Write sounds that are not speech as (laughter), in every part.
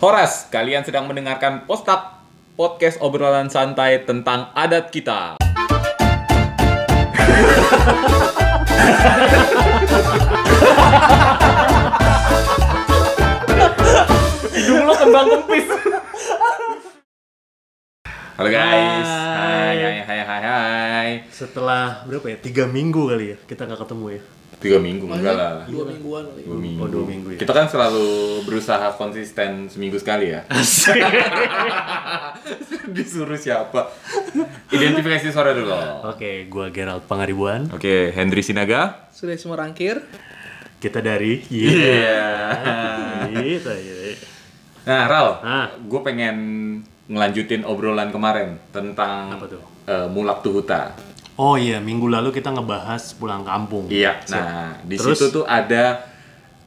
Horas, kalian sedang mendengarkan Postap podcast obrolan santai tentang adat kita. Hidung lo kembang kempis. Halo guys. Hai Hai. hai hai hai. hai. Setelah berapa ya? Tiga minggu kali ya kita nggak ketemu ya. Tiga minggu enggak lah. dua mingguan kali. Dua minggu. Oh, dua minggu ya. Kita kan selalu berusaha konsisten seminggu sekali ya. (laughs) Disuruh siapa? Identifikasi suara dulu. Oke, gua Gerald Pangaribuan. Oke, Hendry Sinaga. Sudah semua rangkir. Kita dari Iya. Iya. Gitu ya. Nah, Ral, Hah? gue pengen ngelanjutin obrolan kemarin tentang Apa tuh? eh, mulak tuhuta. Oh iya, minggu lalu kita ngebahas pulang kampung. Iya. Siap. Nah, di Terus? situ tuh ada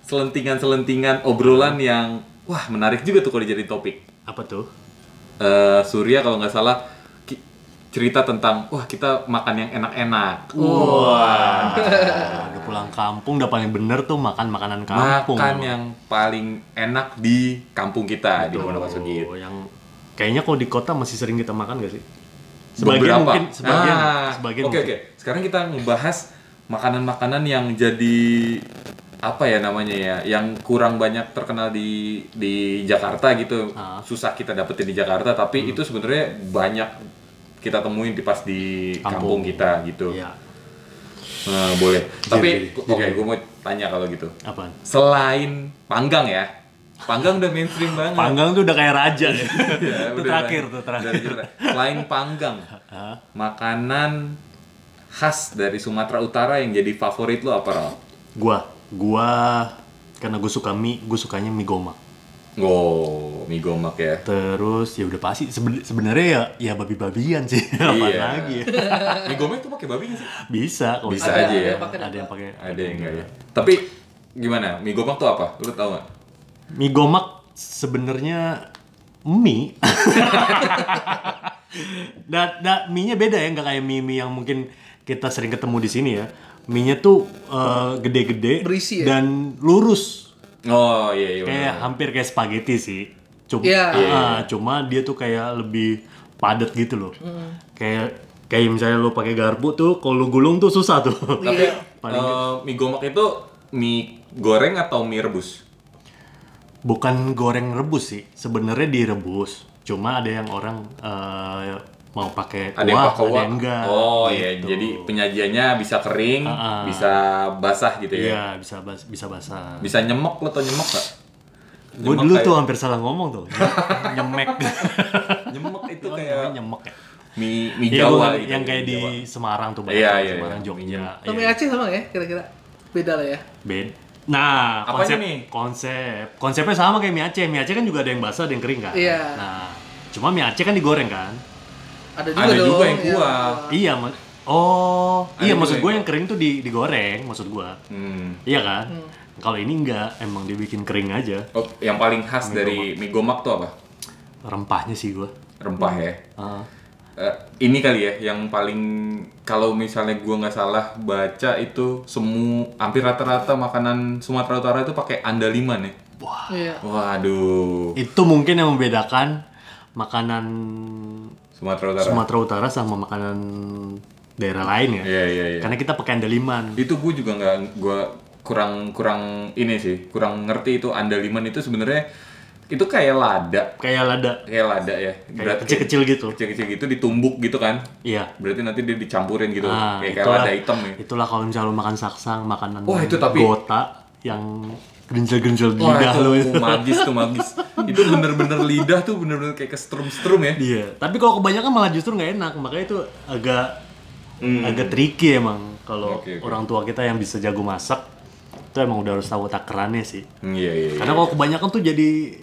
selentingan-selentingan obrolan yang wah menarik juga tuh kalau jadi topik. Apa tuh? eh Surya kalau nggak salah ki- cerita tentang wah kita makan yang enak-enak. Udah pulang kampung udah paling bener tuh makan makanan kampung. Makan yang paling enak di kampung kita di Pondok Pasugir. Oh, yang kayaknya kalau di kota masih sering kita makan gak sih? Beberapa. Sebagian mungkin, sebagian, Ah, sebagian Oke oke. mungkin. Sekarang kita ngebahas makanan-makanan yang jadi apa ya namanya ya, yang kurang banyak terkenal di di Jakarta gitu. Ah. Hmm. Susah kita dapetin di Jakarta, tapi itu sebenarnya banyak kita temuin di pas di kampung, Kampung. kita gitu. Iya. Nah, boleh. Tapi jadi, oke, jadi. gue mau tanya kalau gitu. Apaan? Selain panggang ya, panggang udah mainstream banget. Panggang tuh udah kayak raja ya. Ya, itu udah terakhir lah. tuh Dari terakhir. Ah. Jakarta. Selain panggang, Hah? makanan khas dari Sumatera Utara yang jadi favorit lo apa, Ral? Gua, gua karena gue suka mie, gue sukanya mie gomak. Oh, mie gomak ya. Terus ya udah pasti seben- sebenarnya ya ya babi-babian sih. (laughs) Apa Iya. lagi ya? mie gomak tuh pakai babi nggak sih? Bisa kalau Bisa aja ada- ya. Ada, yang pakai. Ada yang enggak ya. Tapi gimana? Mie gomak tuh apa? Lo tau nggak? Mie gomak sebenarnya mie. (laughs) nah, nah, mie-nya beda ya, nggak kayak mie-mie yang mungkin kita sering ketemu di sini ya. Mie-nya tuh eh, gede-gede Berisi ya? dan lurus. Oh iya iya. bener. kayak hampir kayak spaghetti sih cuma Iya. ah, cuma dia tuh kayak lebih padat gitu loh Hmm. kayak kayak misalnya lo pakai garpu tuh kalau lo gulung tuh susah tuh (laughs) Tapi Iya. eh, mie gomak itu mie goreng atau mie rebus? bukan goreng rebus sih sebenarnya direbus cuma ada yang orang eh, mau pakai kuah Ada yang pakai ada kuah. yang enggak Oh iya, gitu. jadi penyajiannya bisa kering, Ah, ah. bisa basah gitu ya. iya bisa bas- bisa basah Bisa ya. nyemek lo tau nyemek gak? gue dulu tuh hampir salah ngomong (laughs) tuh nyemek nyemek itu Gua kayak namanya nyemek ya mie, mie Iya, Oh, iya. Jawa gua- gitu. yang kayak mie di Jawa. Semarang tuh Iya, tuh, iya, Semarang iya. Jogja Sama Iya. Aceh sama ya kira-kira. Beda lah ya. Bed. Nah, Apanya konsep nih? konsep konsepnya sama kayak mie Aceh. Mie Aceh kan juga ada yang basah, ada yang kering kan. Iya. Nah, cuma mie Aceh kan digoreng kan. Ada juga Ada dong. juga yang kuah. Iya, ma- oh, Ada iya juga maksud yang gue yang kering tuh di- digoreng, maksud gue. Hmm. Iya kan? Kalau ini enggak, emang dibikin kering aja. Oh, yang paling khas dari mie gomak tuh apa? Rempahnya sih Ah. gue. Rempah ya. Eh, ini kali ya yang paling kalau misalnya gua nggak salah baca itu semu hampir rata-rata makanan Sumatera Utara itu pakai andaliman ya. Iya. Waduh. Itu mungkin yang membedakan makanan Sumatera Utara. Sumatera Utara sama makanan daerah lain ya. Iya iya iya. Karena kita pakai andaliman. itu gue juga nggak gue kurang kurang ini sih kurang ngerti itu andaliman itu sebenarnya itu kayak lada Kayak lada, kayak lada ya kayak berarti kecil-kecil gitu. kecil-kecil gitu ditumbuk gitu kan Iya. berarti nanti dia dicampurin gitu Ah, kayak, kayak lada hitam ya Itulah kalau misalnya lu makan saksang, makanan Wah, itu tapi- gota yang gerinjel-gerinjel di Wah, lidah lu itu itu. magis tuh magis itu bener-bener lidah tuh bener-bener kayak kesetrum-setrum ya Iya. Tapi kalau kebanyakan malah justru nggak enak, makanya itu agak agak tricky emang Hmm. kalau Oke, oke. orang tua kita yang bisa jago masak itu emang udah harus tahu takarannya sih. Hmm, iya iya, iya. Karena kalau kebanyakan tuh jadi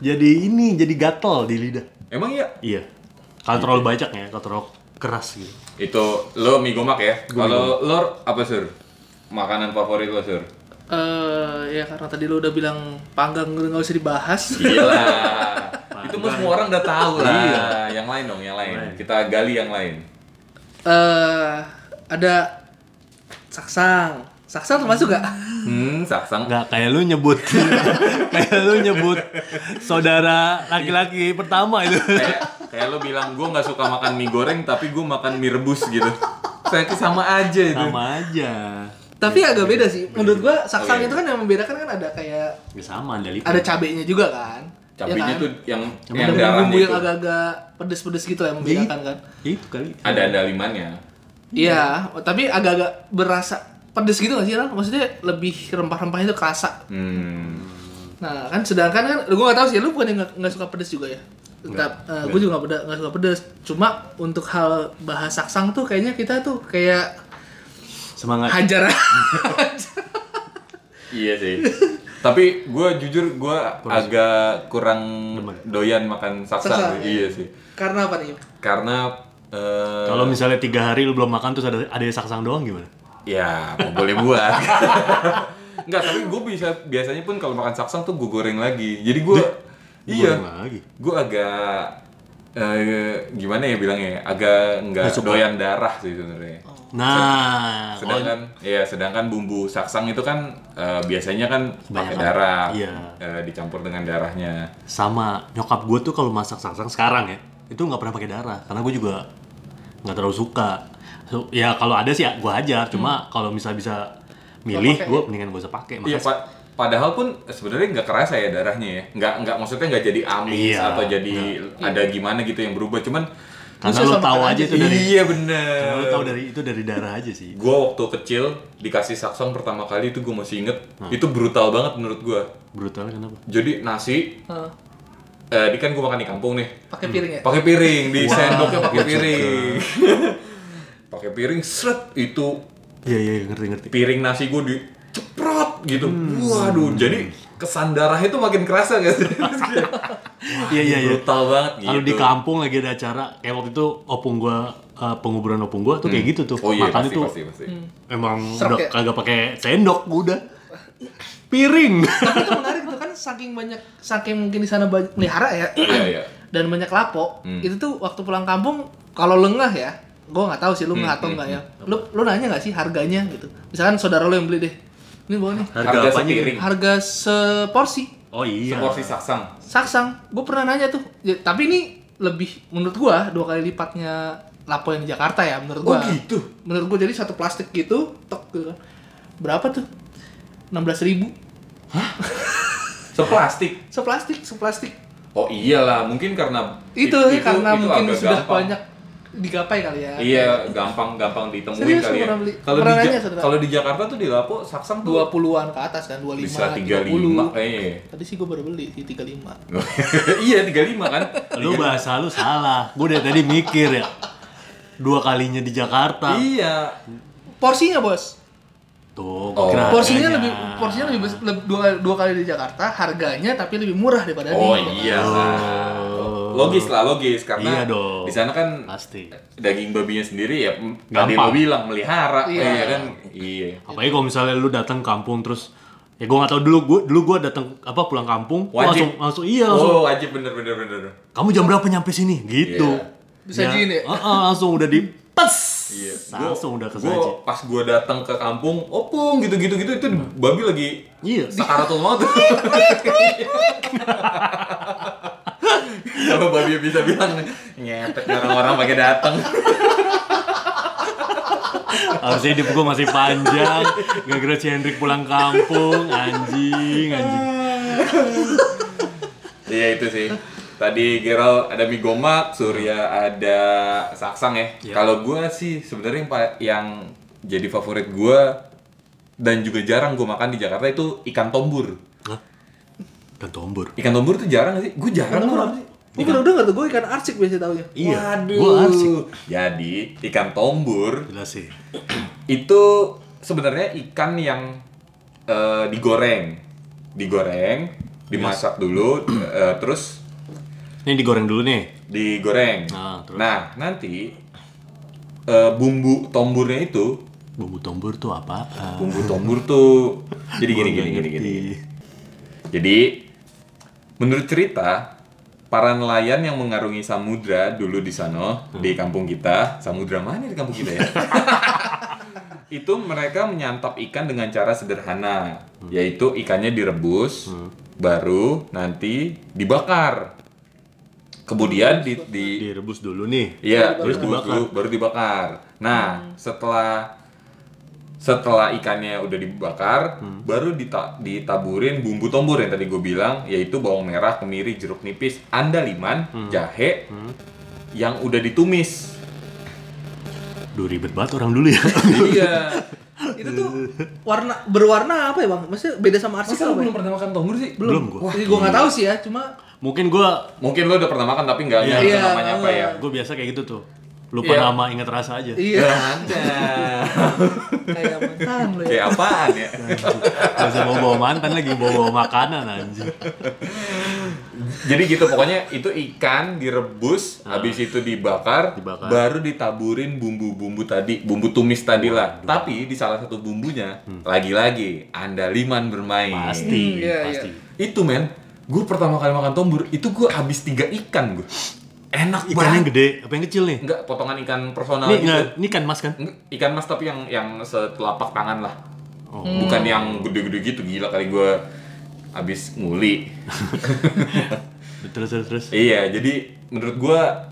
jadi ini, jadi gatel di lidah. emang ya Iya. Kalau terlalu banyak ya, kalau terlalu keras gitu. itu lo mie gomak ya kalau lo apa sur makanan favorit lo sur Eh, ya karena tadi lu udah bilang panggang udah nggak usah dibahas. Gila. itu mah semua orang udah tahu lah. Yang lain dong, yang lain. Kita gali yang lain. Eh, ada saksang. Saksang termasuk gak? Hmm, saksang. Nggak kayak lu (laughs) nyebut kayak lu nyebut saudara laki-laki pertama itu. Kayak kayak lo bilang gue nggak suka makan mie goreng tapi gue makan mie rebus gitu. Saya itu sama aja itu. Sama aja. Tapi Iya. agak beda sih. Menurut gua saksang Oke. itu kan yang membedakan kan ada kayak Ya sama ada lipat. ada cabenya juga kan. Ya Cabenya kan? tuh yang Ada yang gitu. bumbu darahnya yang itu. agak-agak pedes-pedes gitu lah yang Iya. membedakan kan. Ya, itu kali. Ada ada limannya. Iya, tapi agak-agak berasa pedes gitu gak sih Ran? Maksudnya lebih rempah-rempahnya itu kerasa. Hmm. Nah kan sedangkan kan, gue gak tau sih, lu bukan yang gak, suka pedes juga ya? Enggak, gue juga gak, peda- nggak suka pedes. Cuma untuk hal bahasa saksang tuh kayaknya kita tuh kayak Semangat. hajar (laughs) Iya (laughs) sih. Tapi gue jujur gue agak kurang Demen. doyan makan saksang. Saksang, Iya sih. Karena apa nih? Karena eh, Kalau misalnya tiga hari lu belum makan terus ada ada yang saksang doang gimana? Ya, mau boleh (laughs) buat. Enggak, tapi gue bisa biasanya pun kalau makan saksang tuh gue goreng lagi. Jadi gue iya, Goreng lagi. gue agak eh, gimana ya bilangnya? ya, Agak Nggak nggak suka. doyan darah sih sebenarnya. Oh. Nah, kalau- Sedangkan ya, sedangkan bumbu saksang itu kan eh, biasanya kan pakai Kebanyakan. darah, Iya. eh, dicampur dengan darahnya. sama nyokap gue tuh kalau masak saksang sekarang ya itu nggak pernah pakai darah karena gue juga nggak terlalu suka So, ya kalau ada sih ya gue hajar cuma kalau misalnya bisa milih pakai. gue mendingan gue usah pakai Iya, makasih pa- padahal pun sebenarnya nggak kerasa ya darahnya ya. Nggak nggak maksudnya nggak jadi amis Iya, atau jadi ada gimana gitu yang berubah. Cuman karena Terus lu sama tahu makan aja aja. itu dari iya karena bener. lu tahu dari itu dari darah aja sih Gue waktu kecil dikasih saksang pertama kali itu gue masih inget. Hmm. Itu brutal banget menurut gue. brutalnya kenapa Jadi nasi, Hah, eh, ini kan gue makan di kampung nih. Pakai piring ya? Hmm. Pakai piring di Wah, sendoknya pakai gua piring. (laughs) pakai piring seret itu iya iya ngerti ngerti piring nasi gue diceprot gitu. Hmm. Waduh, jadi kesan darahnya tuh makin kerasa gak sih? (laughs) iya iya iya Brutal banget gitu. kalau di kampung lagi ada acara kayak waktu itu opung gue penguburan opung gue tuh kayak gitu tuh Oh iya, makan pasti, itu pasti, pasti. emang Serak udah ya? kagak pakai sendok udah piring Tapi itu menarik tuh kan saking banyak, saking mungkin di sana banyak melihara ya. Iya, iya. dan banyak lapo Hmm. itu tuh waktu pulang kampung kalau lengah ya gue nggak tahu sih Hmm, lu nggak atau nggak ya lu lu nanya nggak sih harganya gitu misalkan saudara lu yang beli deh ini bawa nih Harga, apanya? gitu? sepiring. harga seporsi oh iya Seporsi saksang. saksang gue pernah nanya tuh Ya, tapi ini lebih menurut gua dua kali lipatnya lapo yang di Jakarta ya menurut gua Oh, gitu? menurut gua jadi satu plastik gitu tok gitu kan. berapa tuh 16.000 ribu Seplastik. seplastik seplastik Oh iyalah, mungkin karena itu, i- karena itu mungkin agak sudah gampang. banyak digapai kali ya Iya, gampang-gampang ditemuin Serius, kali ya. pernah beli- Kalau di pernah Ja- nanya, saudara? kalau di Jakarta tuh di Lapo saksang tuh 20-an ke atas kan, 25, bisa 35 30. kayaknya. ya. Tadi sih gue baru beli di 35. (laughs) iya, 35 kan. Nah. Lu bahasa lu salah. Gue dari tadi mikir ya. Dua kalinya di Jakarta. Iya. Porsinya, Bos. Tuh, Oh. kira Porsinya harganya. lebih porsinya lebih, bes- leb- dua, dua kali di Jakarta, harganya tapi lebih murah daripada Oh di iya. Oh. Logis lah, logis karena Iya dong. di sana kan Pasti. daging babinya sendiri ya m- tadi Gampang. lo bilang melihara Iya. iya kan iya Apalagi kalau misalnya lu datang kampung terus ya gue gak tau dulu gue dulu gue datang apa pulang kampung gua Wajib. langsung langsung iya langsung oh wajib bener bener bener kamu jam berapa nyampe sini gitu Iya. Disajiin ya? Heeh, langsung udah di pes Iya. langsung udah kesaji gua, pas gua datang ke kampung opung gitu gitu gitu itu Hmm. babi lagi iya sakaratul maut Kalau babi bisa bilang ngetek orang-orang pakai datang. harusnya hidup gue masih panjang gak kira si Hendrik pulang kampung anjing anjing Iya itu sih. Tadi Gerald ada mie gomak, Surya ada saksang ya. Iya. Kalau gua sih sebenarnya yang, pa- yang jadi favorit gua dan juga jarang gua makan di Jakarta itu ikan tombur. Hah? dan tombor Ikan tombur tuh jarang gak sih? Gua jarang Ikan tombur loh. apa sih? Gue baru denger tuh, gue ikan arsik biasa ya. taunya. Iya, Waduh. gua arsik. Jadi ikan tombur Jelas sih. itu sebenarnya ikan yang eh, digoreng, digoreng, dimasak dulu, eh, terus Ini digoreng dulu nih. digoreng. Nah, Nah, terus? nanti eh, bumbu tomburnya itu, Bumbu tombor tuh apa? bumbu tombur tuh jadi gini gini gini gini. Jadi menurut cerita para nelayan yang mengarungi samudra dulu di sana di kampung kita, samudra mana di kampung kita ya? itu mereka menyantap ikan dengan cara sederhana, yaitu ikannya direbus, baru nanti dibakar. Kemudian di, di Direbus dulu nih. Iya, terus Terus dibakar. dibakar. baru dibakar. Nah, setelah setelah ikannya udah dibakar, baru dita- ditaburin bumbu tombur yang tadi gue bilang, yaitu bawang merah, kemiri, jeruk nipis, andaliman, jahe, yang udah ditumis. Duh ribet banget orang dulu (laughs) ya. Iya. Itu tuh warna berwarna apa ya bang? Maksudnya beda sama arsikel apa? ya? pernah makan tombur sih? Belum Belum. gua. Iya. Jadi gua nggak tahu sih ya, cuma Mungkin gua Mungkin lo udah pernah makan tapi nggak Iya. nggak tahu Iya, namanya apa ya. gue biasa kayak gitu tuh. Lupa Iya. nama, ingat rasa aja. iya Mantap. kayak mantan lo ya. Iya. Kayak apaan ya? Gak usah bawa-bawa mantan lagi, bawa-bawa makanan anjing. Iya. Jadi gitu pokoknya itu ikan direbus, habis itu dibakar, Ah. Dibakar. baru ditaburin bumbu-bumbu tadi, bumbu tumis tadi lah. Tapi di salah satu bumbunya lagi-lagi andaliman bermain. Hmm. Pasti, Hmm, iya, pasti. iya. Itu men, gue pertama kali makan tombur itu gue habis tiga ikan gue. Enak Ikan yang banget. gede, apa yang kecil nih? Enggak potongan ikan personal Ini, gitu. nah, ini kan mas kan? Nggak, Ikan mas tapi yang yang setelapak tangan lah. Oh. Bukan yang gede-gede gitu gila kali gue habis nguli. Terus, terus, terus. Iya, jadi menurut gua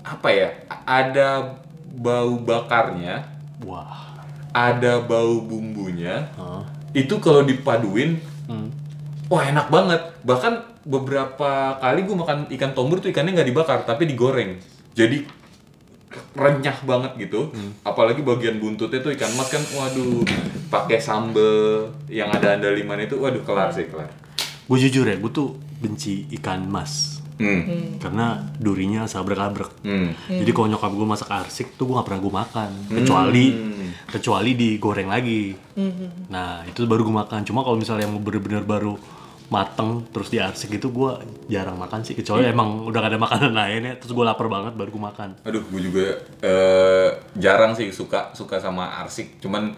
apa ya? a- Ada bau bakarnya, Wah. ada bau bumbunya. Hah? Itu kalau dipaduin, Hmm. wah enak banget. Bahkan beberapa kali gua makan ikan tombur tuh ikannya nggak dibakar, tapi digoreng. Jadi renyah banget gitu. Apalagi bagian buntutnya tuh ikan mas kan, waduh, pakai sambel yang ada andaliman itu, waduh kelar sih kelar. Gue jujur ya, gue tuh benci ikan mas. Hmm. Karena durinya sabrak-abrak. Hmm. Jadi kalau nyokap gue masak arsik tuh gue gak pernah gue makan. Kecuali kecuali digoreng lagi. Hmm. Nah itu baru gue makan. Cuma kalau misalnya yang bener-bener baru mateng terus di arsik itu gue jarang makan sih. Kecuali Hmm. emang udah gak ada makanan (laughs) lain ya. Terus gue lapar banget baru gue makan. Aduh, gue juga eh, jarang sih suka suka sama arsik. Cuman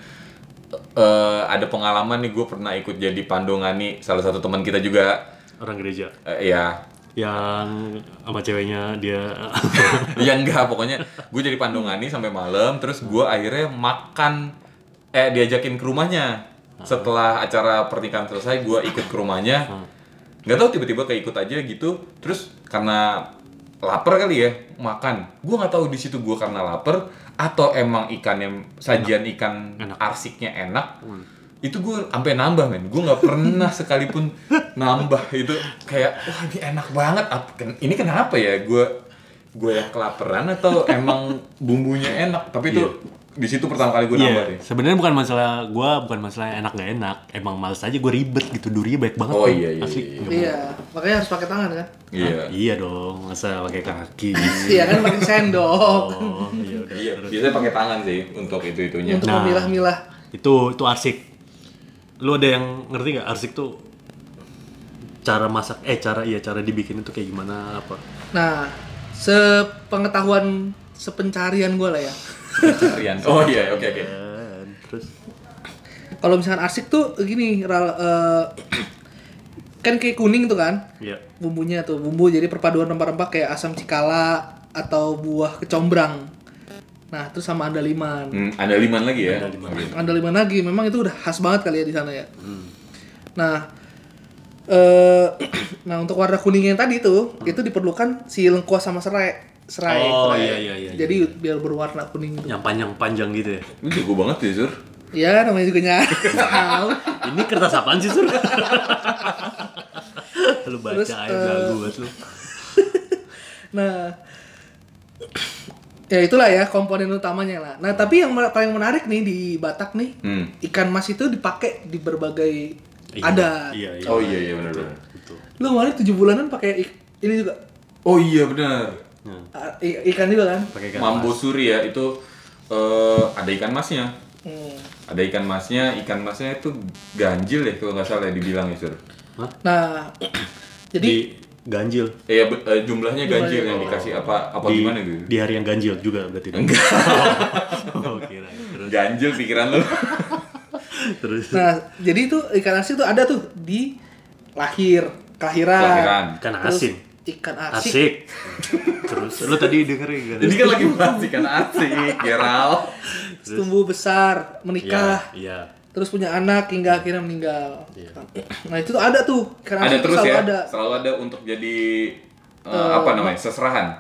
eh, ada pengalaman nih gue pernah ikut jadi pandongani salah satu teman kita juga. Orang gereja Eh, ya, yang sama ceweknya dia (laughs) (laughs) ya enggak pokoknya gue jadi pandongani sampai malam. Terus gue akhirnya makan eh diajakin ke rumahnya. Setelah acara pernikahan selesai, gue ikut ke rumahnya. Nggak tahu tiba-tiba keikut aja gitu. Terus karena lapar kali ya makan. Gue nggak tahu di situ gue karena lapar atau emang ikannya sajian ikan Enak. Hmm. arsiknya enak. Itu gue sampai nambah men. Gue nggak pernah sekalipun nambah itu kayak wah ini enak banget. Ap- ken- Ini kenapa ya gue gue yang kelaparan (laughs) atau emang bumbunya enak. Tapi itu di situ pertama kali gue nambah Iya, deh. sebenarnya bukan masalah gue, bukan masalah enak gak enak. Emang males aja gue ribet gitu, durinya baik banget. Oh, kan. iya, iya, Asli. iya, nggak Iya, makanya harus pakai tangan kan? Iya. mau. Iya dong, masa pakai (laughs) kaki. Iya kan pakai sendok oh, iya udah. Iya, biasanya pakai tangan sih untuk itu-itunya. untuk Nah. memilah-milah. Itu itu arsik. Lu ada yang ngerti nggak arsik tuh cara masak eh cara iya cara dibikin itu kayak gimana apa? Nah, sepengetahuan sepencarian gue lah ya. Pencarian. (laughs) Oh iya, oke oke. Dan terus Kalau misalkan arsik tuh gini, Ral, eh, (clears throat) kan kayak kuning tuh kan iya. bumbunya tuh bumbu jadi perpaduan rempah-rempah kayak asam cikala atau buah kecombrang. Nah, terus sama andaliman. Hmm, ada liman lagi ya? Ada liman. Andaliman lagi, memang itu udah khas banget kali ya di sana ya. Hmm. Nah, eh, (clears throat) nah untuk warna kuningnya yang tadi itu, itu diperlukan si lengkuas sama serai. Serai. Hmm. Oh, serai. iya, iya, iya, Jadi biar berwarna kuning gitu. Yang panjang-panjang gitu ya. Lu jago banget ya, Sur. Ya namanya juga (laughs) nyari. (laughs) Tahu. Ini kertas apaan sih, Sur? (laughs) lu baca Terus, aja eh, belagu banget lu. nah, ya itulah ya komponen utamanya lah. Nah tapi yang mer- paling menarik nih di Batak nih, Hmm. ikan mas itu dipakai di berbagai Iya, ada. Iya, iya. Oh iya iya benar benar. Betul. Lu kemarin tujuh bulanan pakai ik- ini juga Oh iya benar. Nah, ah, i- ikan juga kan? pakai kertas. Mambo Suri ya itu eh, ada ikan masnya. Hmm. Ada ikan masnya, ikan masnya itu ganjil ya kalau nggak salah ya dibilang ya, Sur. Nah, (clears throat) Di jadi ganjil. Eh, ya, be- eh, jumlahnya ganjil yang Jumlahnya. dikasih apa apa di, gimana gitu. di hari yang ganjil juga berarti enggak (laughs) oh, kira terus Ganjil pikiran lu. terus nah jadi itu ikan asin itu ada tuh di lahir kelahiran. Kelahiran. ikan Terus asin ikan arsik. Asik. Terus lu tadi dengerin kan? Ini kan lagi bahas ikan asik, Geral. terus tumbuh besar, menikah, Iya, iya. terus punya anak hingga akhirnya meninggal. Nah, itu tuh ada tuh. Iya. Ikan Ada arsik tuh terus selalu ya, ada. selalu ada untuk jadi eh, apa namanya, seserahan.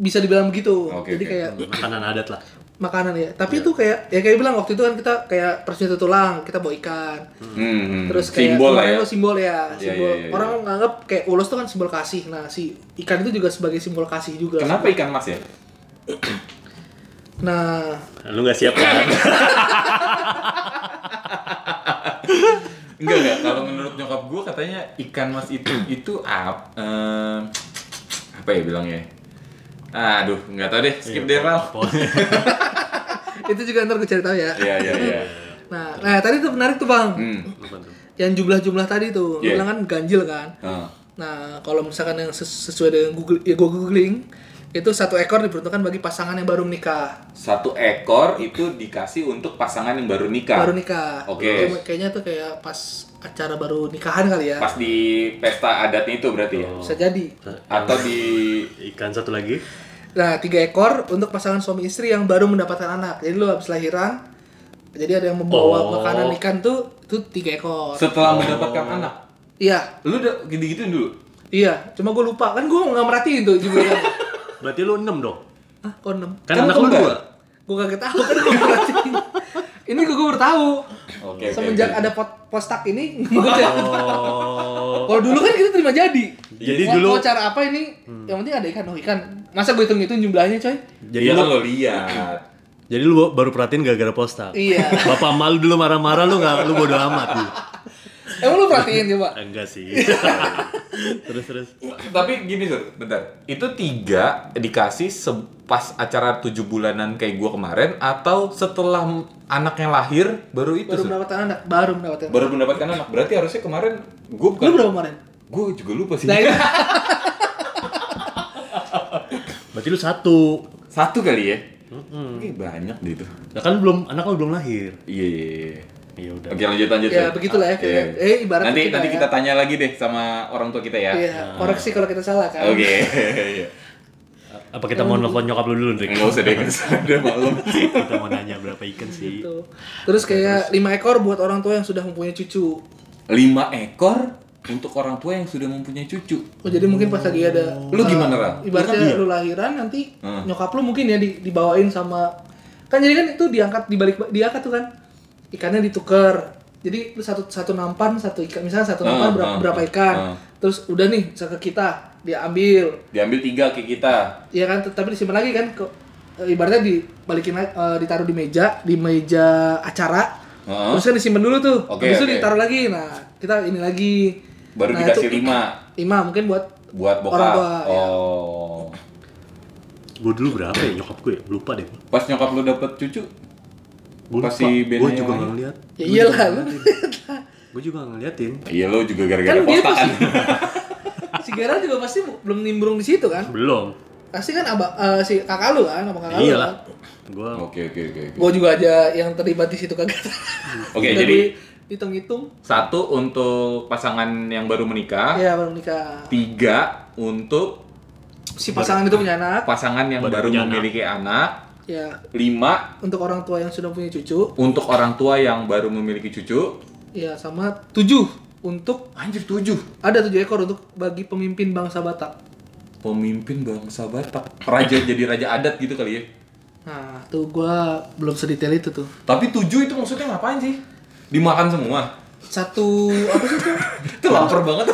Bisa dibilang begitu. Oke, Jadi oke. kayak Makanan adat lah. makanan ya. Iya. Tapi itu kayak ya kayak bilang waktu itu kan kita kayak persnya tulang, kita bawa ikan. Hmm, Terus kayak simbol lah ya. kemarin lo simbol ya, simbol. iya, iya, iya. Orang nganggap kayak ulos tuh kan simbol kasih. Nah, si ikan itu juga sebagai simbol kasih juga. Kenapa ikan mas ya? Nah, (laughs) Lu gak siap kan? Enggak enggak. Kalau menurut nyokap gue katanya ikan mas itu itu ap, em, apa ya bilangnya? Ah, aduh, nggak tahu deh. Skip deh, Ral. itu juga ntar gue cari tahu ya. Iya iya iya. Nah, nah tadi tuh menarik tuh bang, Hmm. yang jumlah-jumlah tadi tuh, Iya. lu bilang kan ganjil kan. ah. Nah, kalau misalkan yang ses- sesuai dengan Google, ya gua googling, itu satu ekor diperuntukkan bagi pasangan yang baru menikah, Satu ekor itu dikasih untuk pasangan yang baru nikah. baru nikah. Oke. Itu Kayaknya tuh kayak pas acara baru nikahan kali ya, Pas di pesta adatnya itu berarti ya. bisa jadi. Atau di Ikan satu lagi. Nah, tiga ekor untuk pasangan suami istri yang baru mendapatkan anak. Jadi lu habis lahiran, jadi ada yang membawa Oh. makanan ikan tuh, itu tiga ekor. setelah mendapatkan anak. Iya, Lu udah gitu-gituin dulu. iya. Cuma gue lupa kan gue nggak merhatiin tuh juga. Berarti lu 6 dong. ah, kok enam? Kan Kan, anak lu kembar. dua. Gue kaget tahu kan gue merhatiin. Ini gue baru tahu. Oke. oke, Semenjak oke. ada pot postak ini, (laughs) gua udah- Oh. kalau dulu kan itu terima jadi. Jadi Mau- dulu- mau cara apa ini? Yang penting ada ikan, oh ikan. Masa gue hitung hitung jumlahnya coy? Jadi Iya lu kan lo (laughs) lihat. jadi lu baru perhatiin gara-gara posta. Iya. (laughs) Bapak malu dulu marah-marah lu nggak lu bodo amat lu. Emang lu perhatiin coba? Enggak sih. terus terus. Tapi gini sur, bentar. Itu tiga dikasih se- pas acara tujuh bulanan kayak gua kemarin atau setelah m- anaknya lahir baru itu Baru Gitu, Sur? mendapatkan anak, baru mendapatkan. baru mendapatkan anak. Berarti harusnya kemarin gua bukan. Iya. Lu berapa (laughs) kemarin? Gua juga lupa sih. Nah, itu. Berarti lu satu. Satu kali ya. Ih, banyak deh itu. Nah, kan belum anak lu belum lahir. Iya. iya, iya. Iya udah. Oke lanjut lanjut. Ya, Sur. begitulah ya, Ah, kayak- iya. eh, ibaratnya nanti kita nanti ya. kita tanya lagi deh sama orang tua kita ya. Iya, koreksi kalau kita salah kan. (laughs) Oke. Iya. Apa kita Eh, mau nelfon nyokap lu dulu, Rick? Enggak usah deh, nggak usah. udah malam. kita mau nanya berapa ikan sih? Gitu. Terus kayak lima ekor buat orang tua yang sudah mempunyai cucu. Lima ekor untuk orang tua yang sudah mempunyai cucu. Oh, jadi mungkin pas lagi ada eh, Lu gimana, Ra? Iya kan ibaratnya lu lahiran nanti Ah. nyokap lu mungkin ya di- dibawain sama kan jadi kan itu diangkat dibalik diangkat tuh kan ikannya ditukar jadi lu satu satu nampan satu ikan misalnya satu Ah, nampan berapa, ah, berapa ikan ah. terus udah nih bisa ke kita dia ambil Diambil tiga ke kita. ya kan tapi disimpan lagi kan ke, ibaratnya dibalikin lagi, eh, ditaruh di meja di meja acara Heeh. terus kan disimpan dulu tuh Oke, habis itu oke. ditaruh lagi nah kita ini lagi Baru Nah, dikasih itu- lima lima mungkin buat buat bokap. Orang tua, ya. oh. Gue dulu berapa ya nyokap gue? ya? Lupa deh. Pas nyokap lu dapet cucu, Gue lupa. Pasti beda Gue yang juga lain. nggak ngeliat. ya iyalah lu Gue juga nggak ngeliatin. iya lu juga kan Iya. gara-gara dia postaan. pasti si (laughs) Gerald juga pasti belum nimbrung di situ kan Belum. pasti kan abah eh, si kakak lu kan sama kakak lu Iyalah. kan? Gue (laughs) Oke oke oke. oke. gua juga aja yang terlibat di situ kagak Oke Kita jadi di- hitung-hitung satu untuk pasangan yang baru menikah, ya baru nikah tiga untuk si pasangan itu punya anak pasangan yang Baru baru punya memiliki anak, ya lima untuk orang tua yang sudah punya cucu untuk orang tua yang baru memiliki cucu. ya sama tujuh untuk Anjir tujuh. ada tujuh ekor untuk bagi pemimpin bangsa Batak Pemimpin bangsa Batak, raja jadi raja adat gitu kali ya. nah tuh gua belum sedetail itu tuh Tapi tujuh itu maksudnya ngapain sih? Dimakan semua. satu apa (laughs) sih itu Itu lapar banget.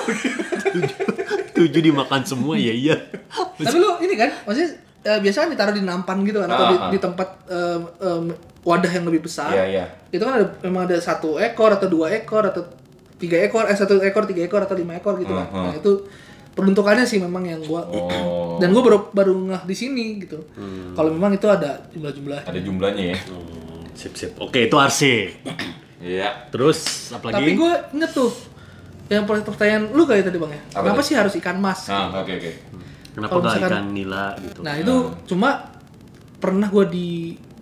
tujuh dimakan semua ya iya. Tapi lu ini kan, maksudnya eh, biasa kan ditaruh di nampan gitu kan, atau di, Ah, ah. di tempat em, em, wadah yang lebih besar. Iya iya. Itu kan ada, memang ada satu ekor atau dua ekor atau tiga ekor, eh satu ekor tiga ekor atau lima ekor gitu kan. Ah, ah. Nah itu peruntukannya sih memang yang gua Oh. Hmm. dan gua baru baru ngeh di sini gitu. Kalau memang itu ada jumlah-jumlah. Ada jumlahnya ya. Hmm, sip sip. Oke itu arsi. Iya. Terus apa lagi? Tapi gua inget tuh yang per- pertanyaan lu kayak tadi bang ya, Apa kenapa sih harus ikan mas? Ah, oke oke. Kenapa kalau nggak misalkan- ikan nila gitu? Nah itu cuma pernah gue di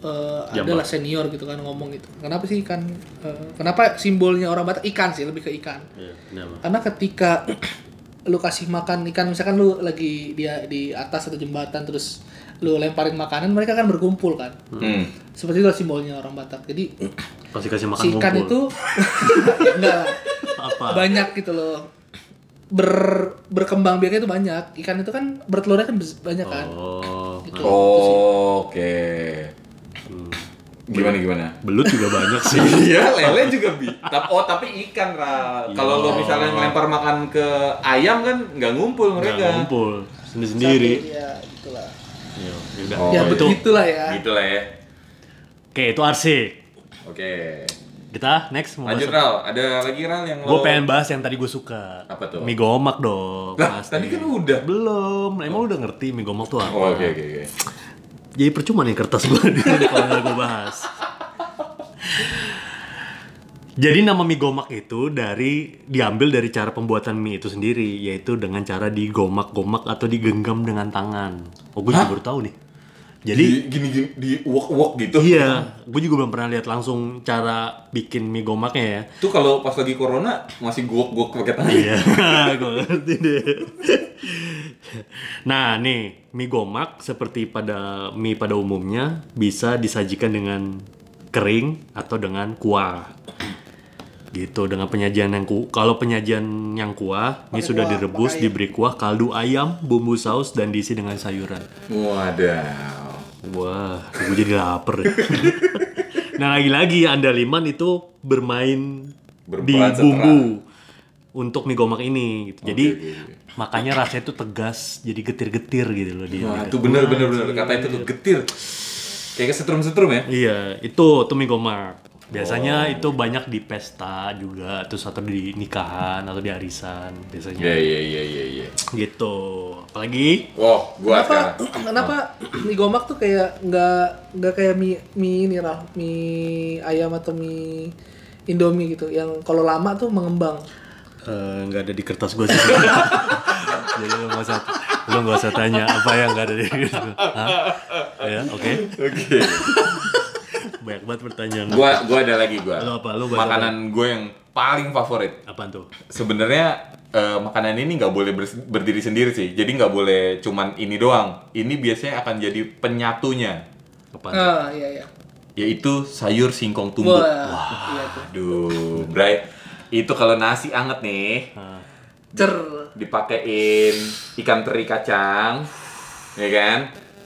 eh, Jambak. adalah senior gitu kan ngomong gitu. Kenapa sih ikan? eh, kenapa simbolnya orang Batak ikan sih lebih ke ikan? Iya, kenapa? Karena ketika (clears throat) lu kasih makan ikan misalkan lu lagi dia di atas satu jembatan terus lu lemparin makanan mereka kan berkumpul kan Hmm. seperti itu simbolnya orang Batak jadi Pasti kasih makan si ikan ngumpul. itu (laughs) enggak lah. apa? banyak gitu loh Ber, berkembang biaknya itu banyak ikan itu kan bertelurnya kan bes- banyak kan Oh, hmm. Gitu. Oh, Oke. Gimana gimana? belut juga banyak sih. Iya, (laughs) lele juga bi. Tap- oh, tapi ikan Ra. Kalau lo misalnya ngelempar makan ke ayam kan nggak ngumpul Nggak mereka. ngumpul sendiri-sendiri. Iya, gitulah. Iya, yaudah. Oh, ya iya. betul. Gitulah ya. Gitu lah ya. Oke, itu arsik. Oke. Kita next mau Lanjut Ral, ada lagi Ral yang Gue lo pengen bahas yang tadi gue suka. Apa tuh? Mie gomak dong. Lah, pasti. tadi kan udah. Belum. Nah, Emang lu udah ngerti mie gomak tuh apa? Oh, Oke oke oke. Jadi percuma nih kertas (laughs) gue kalau nggak gue bahas. Jadi nama mie gomak itu dari diambil dari cara pembuatan mie itu sendiri, yaitu dengan cara digomak-gomak atau digenggam dengan tangan. Oh, gue juga baru tahu nih. Jadi Di- gini gini di wok wok gitu. (laughs) iya, gue juga belum pernah lihat langsung cara bikin mie gomaknya ya. Tuh kalau pas lagi corona masih guok-guok pakai tangan. (laughs) Iya, gue ngerti deh. Nah, nih, mie gomak seperti pada mie pada umumnya bisa disajikan dengan kering atau dengan kuah. Gitu, dengan penyajian yang ku kalau penyajian yang kuah, mie Pakai sudah kuah, direbus, pakai ayam. diberi kuah, kaldu ayam, bumbu saus dan diisi dengan sayuran. (laughs) Waduh. Wah, gue jadi lapar ya. (laughs) nah, lagi-lagi andaliman itu bermain di Berperan bumbu untuk mie gomak ini gitu. jadi oke, makanya rasanya itu tegas, jadi getir-getir gitu loh dia. Wah, itu bener bener bener kata itu tuh getir. Kayak kesetrum-setrum ya. Iya, itu tuh mie gomak. Biasanya Oh. itu banyak di pesta juga, terus atau di nikahan atau di arisan biasanya. Iya iya iya iya iya. Gitu. Apalagi Wow, gua Kenapa sekarang. (clears throat) kenapa mie gomak tuh kayak nggak nggak kayak mie mie ini Ral, mie ayam atau mie Indomie gitu yang kalau lama tuh mengembang. eh, nggak ada di kertas gue sih. (laughs) Jadi lo nggak usah lo nggak usah tanya apa yang nggak ada di kertas. gua. Hah? Ya, oke. Oke. Banyak banget pertanyaan. gua gua ada lagi gua. Lu apa? Lu bahas makanan gue yang paling favorit. Apaan tuh? Sebenarnya eh, makanan ini nggak boleh bers- berdiri sendiri sih. Jadi nggak boleh cuman ini doang. Ini biasanya akan jadi penyatunya, Apaan? tuh? Ah iya iya. yaitu sayur singkong tumbuk. Wah, iya tuh. Aduh, Bray. Itu kalau nasi anget nih, Cer. dipakein ikan teri kacang, ya kan?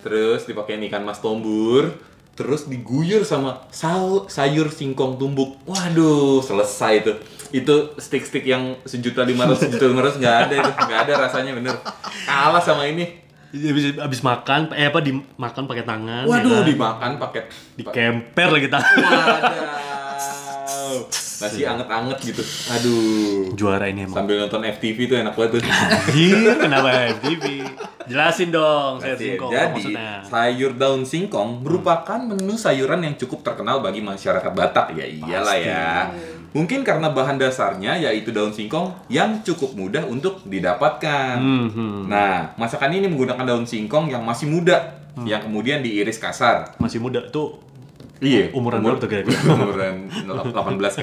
Terus dipakein ikan mas tombur, terus diguyur sama sau- sayur singkong tumbuk. Waduh, selesai itu. Itu stick-stick yang sejuta lima ratus, sejuta lima ratus nggak ada itu, nggak ada rasanya bener. Kalah sama ini. Jadi Abis, abis makan, eh apa dimakan pakai tangan? Waduh, ya kan? dimakan pakai dikemper lagi (laughs) tangan. Waduh, nasi anget-anget gitu. Aduh. Juara ini emang. Sambil nonton FTV tuh enak banget tuh. Anjir, kenapa FTV? Jelasin dong, (laughs) saya Jadi, singkong Jadi, maksudnya. sayur daun singkong merupakan menu sayuran yang cukup terkenal bagi masyarakat Batak. Ya iyalah ya. Mungkin karena bahan dasarnya yaitu daun singkong yang cukup mudah untuk didapatkan. Hmm, hmm. Nah, masakan ini menggunakan daun singkong yang masih muda, Hmm. yang kemudian diiris kasar. Masih muda tuh. Iya, Umuran umur- berapa tuh kira-kira? (laughs) Umuran 18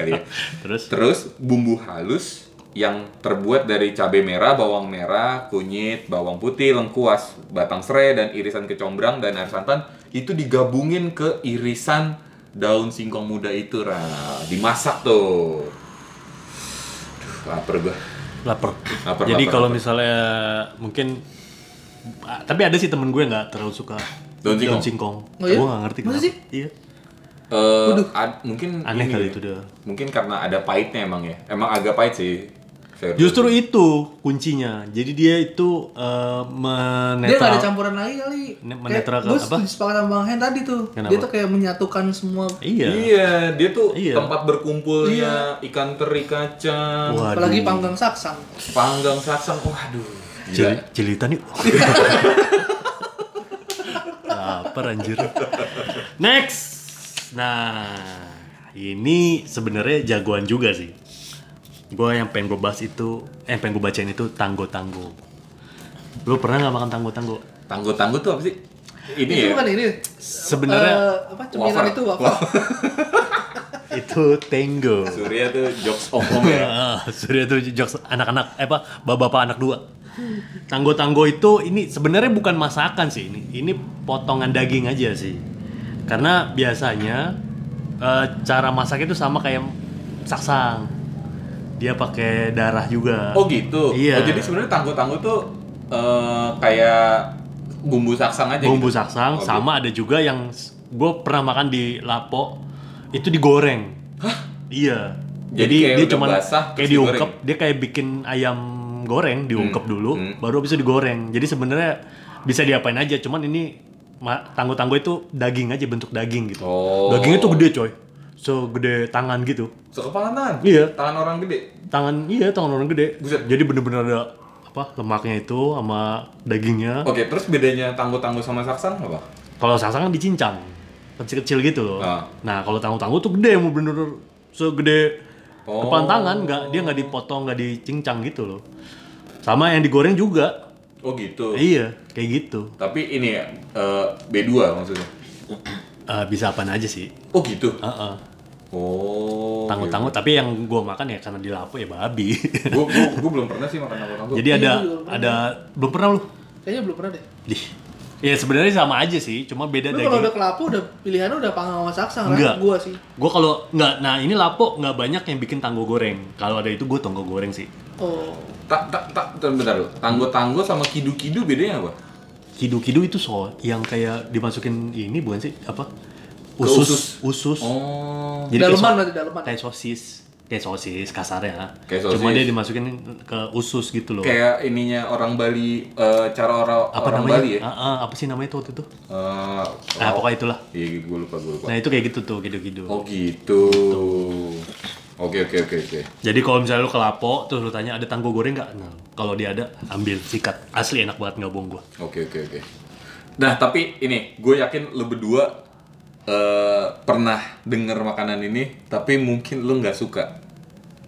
kali ya. Terus? Terus bumbu halus yang terbuat dari cabai merah, bawang merah, kunyit, bawang putih, lengkuas, batang serai, dan irisan kecombrang dan air santan itu digabungin ke irisan daun singkong muda itu, Ra. Dimasak tuh. Duh, lapar gua. Laper. Lapar, Jadi lapar, kalau lapar. misalnya mungkin ah, tapi ada sih temen gue nggak terlalu suka Daun singkong? Oh iya? Gue nggak ngerti Masa kenapa. sih? Iya. Eh, ad- mungkin Aneh ini kali ya. itu dia. Mungkin karena ada pahitnya emang ya. Emang agak pahit sih. sayur Justru itu kuncinya. Jadi dia itu eh, Dia nggak menetral. ada campuran lagi kali. Ne- menetralkan Kayak apa? Gue sepakat sama Bang Hen tadi tuh. Kenapa? Dia tuh kayak menyatukan semua. Iya. Iya, dia tuh Iya. tempat berkumpulnya ikan teri kacang, Waduh. Apalagi panggang saksang. panggang saksang. Waduh. Gila. Cil cilitan yuk. (laughs) Lapar anjir. Next. Nah, ini sebenarnya jagoan juga sih. Gue yang pengen gue bahas itu, eh yang pengen gue bacain itu tanggo-tanggo. Lu pernah nggak makan tanggo-tanggo? Tanggo-tanggo tuh apa sih? Ini Itu ya. bukan ini. Sebenarnya Eh, apa cemilan Wafer. itu apa? itu Tango. Surya tuh jokes om-om (laughs) ya. Ah, Surya itu jokes anak-anak eh apa bapak-bapak anak dua. Tanggo-tanggo itu ini sebenarnya bukan masakan sih ini. Ini potongan daging aja sih. Karena biasanya eh, cara masaknya itu sama kayak saksang. Dia pakai darah juga. Oh gitu. Iya. Oh jadi sebenarnya tanggo-tanggo tuh eh, kayak bumbu saksang aja. Bumbu gitu? saksang Oh, sama ada juga yang gue pernah makan di Lapo itu digoreng. Iya. Jadi Jadi, kayak dia udah cuman basah, kayak terus diungkep, digoreng? dia kayak bikin ayam goreng diungkep Hmm, dulu, hmm. baru habis itu digoreng. Jadi sebenarnya bisa diapain aja, cuman ini ma- tanggo-tanggo itu daging aja bentuk daging gitu. Oh. Dagingnya tuh gede coy, segede tangan gitu. Sekepalan tangan. Iya. Tangan orang gede. Tangan iya tangan orang gede. Buset. Jadi bener-bener ada apa lemaknya itu sama dagingnya. Oke, terus bedanya tanggo-tanggo sama saksang apa? Kalau sangsang kan dicincang, kecil-kecil gitu loh. Ah. Nah, kalau tangguh-tangguh tuh gede, mau bener segede Oh. kepan tangan, nggak dia nggak dipotong, nggak dicincang gitu loh. Sama yang digoreng juga, Oh gitu. iya kayak gitu. Tapi ini ya, eh, B2 maksudnya. Eh, bisa apaan aja sih? Oh gitu. Heeh. Oh. Tangguh-tangguh, tapi yang gua makan ya karena di lapo ya babi. (laughs) Gue gue belum pernah sih makan tanggo-tanggo. Jadi Iya, ada gua juga ada belum pernah lu? Kayaknya belum pernah deh. Dih. Ya sebenarnya sama aja sih, cuma beda Lu kalau daging. udah kelapa udah pilihannya udah panggang sama saksang Enggak. kan? Gua sih. Gua kalau nggak, nah ini lapo nggak banyak yang bikin tanggo goreng. Kalau ada itu gua tanggo goreng sih. Oh. tak tak tak bentar lu. Tanggo-tanggo sama kidu-kidu bedanya apa? Kidu-kidu itu so yang kayak dimasukin ini bukan sih apa? Ke Usus, usus. Oh. kayak Daleman so- berarti, daleman. Kayak sosis, kayak sosis kasarnya. Kayak Cuma sosis. dia dimasukin ke usus gitu loh. Kayak ininya orang Bali eh, cara orang apa orang namanya? Bali ya. Ah, ah, apa sih namanya itu waktu itu? Eh, Nah, pokoknya itulah. Iya, gue lupa, gue lupa. Nah, itu kayak gitu tuh, kidu-kidu. Oh gitu. Oke, oke, oke, oke. Jadi kalau misalnya lu ke Lapo, terus lu tanya ada tanggo goreng nggak? Nah, kalau dia ada, ambil sikat. Asli enak banget nggak bohong gua. Oke, oke, oke. Nah, tapi ini gue yakin lu berdua eh, pernah denger makanan ini, tapi mungkin lu nggak suka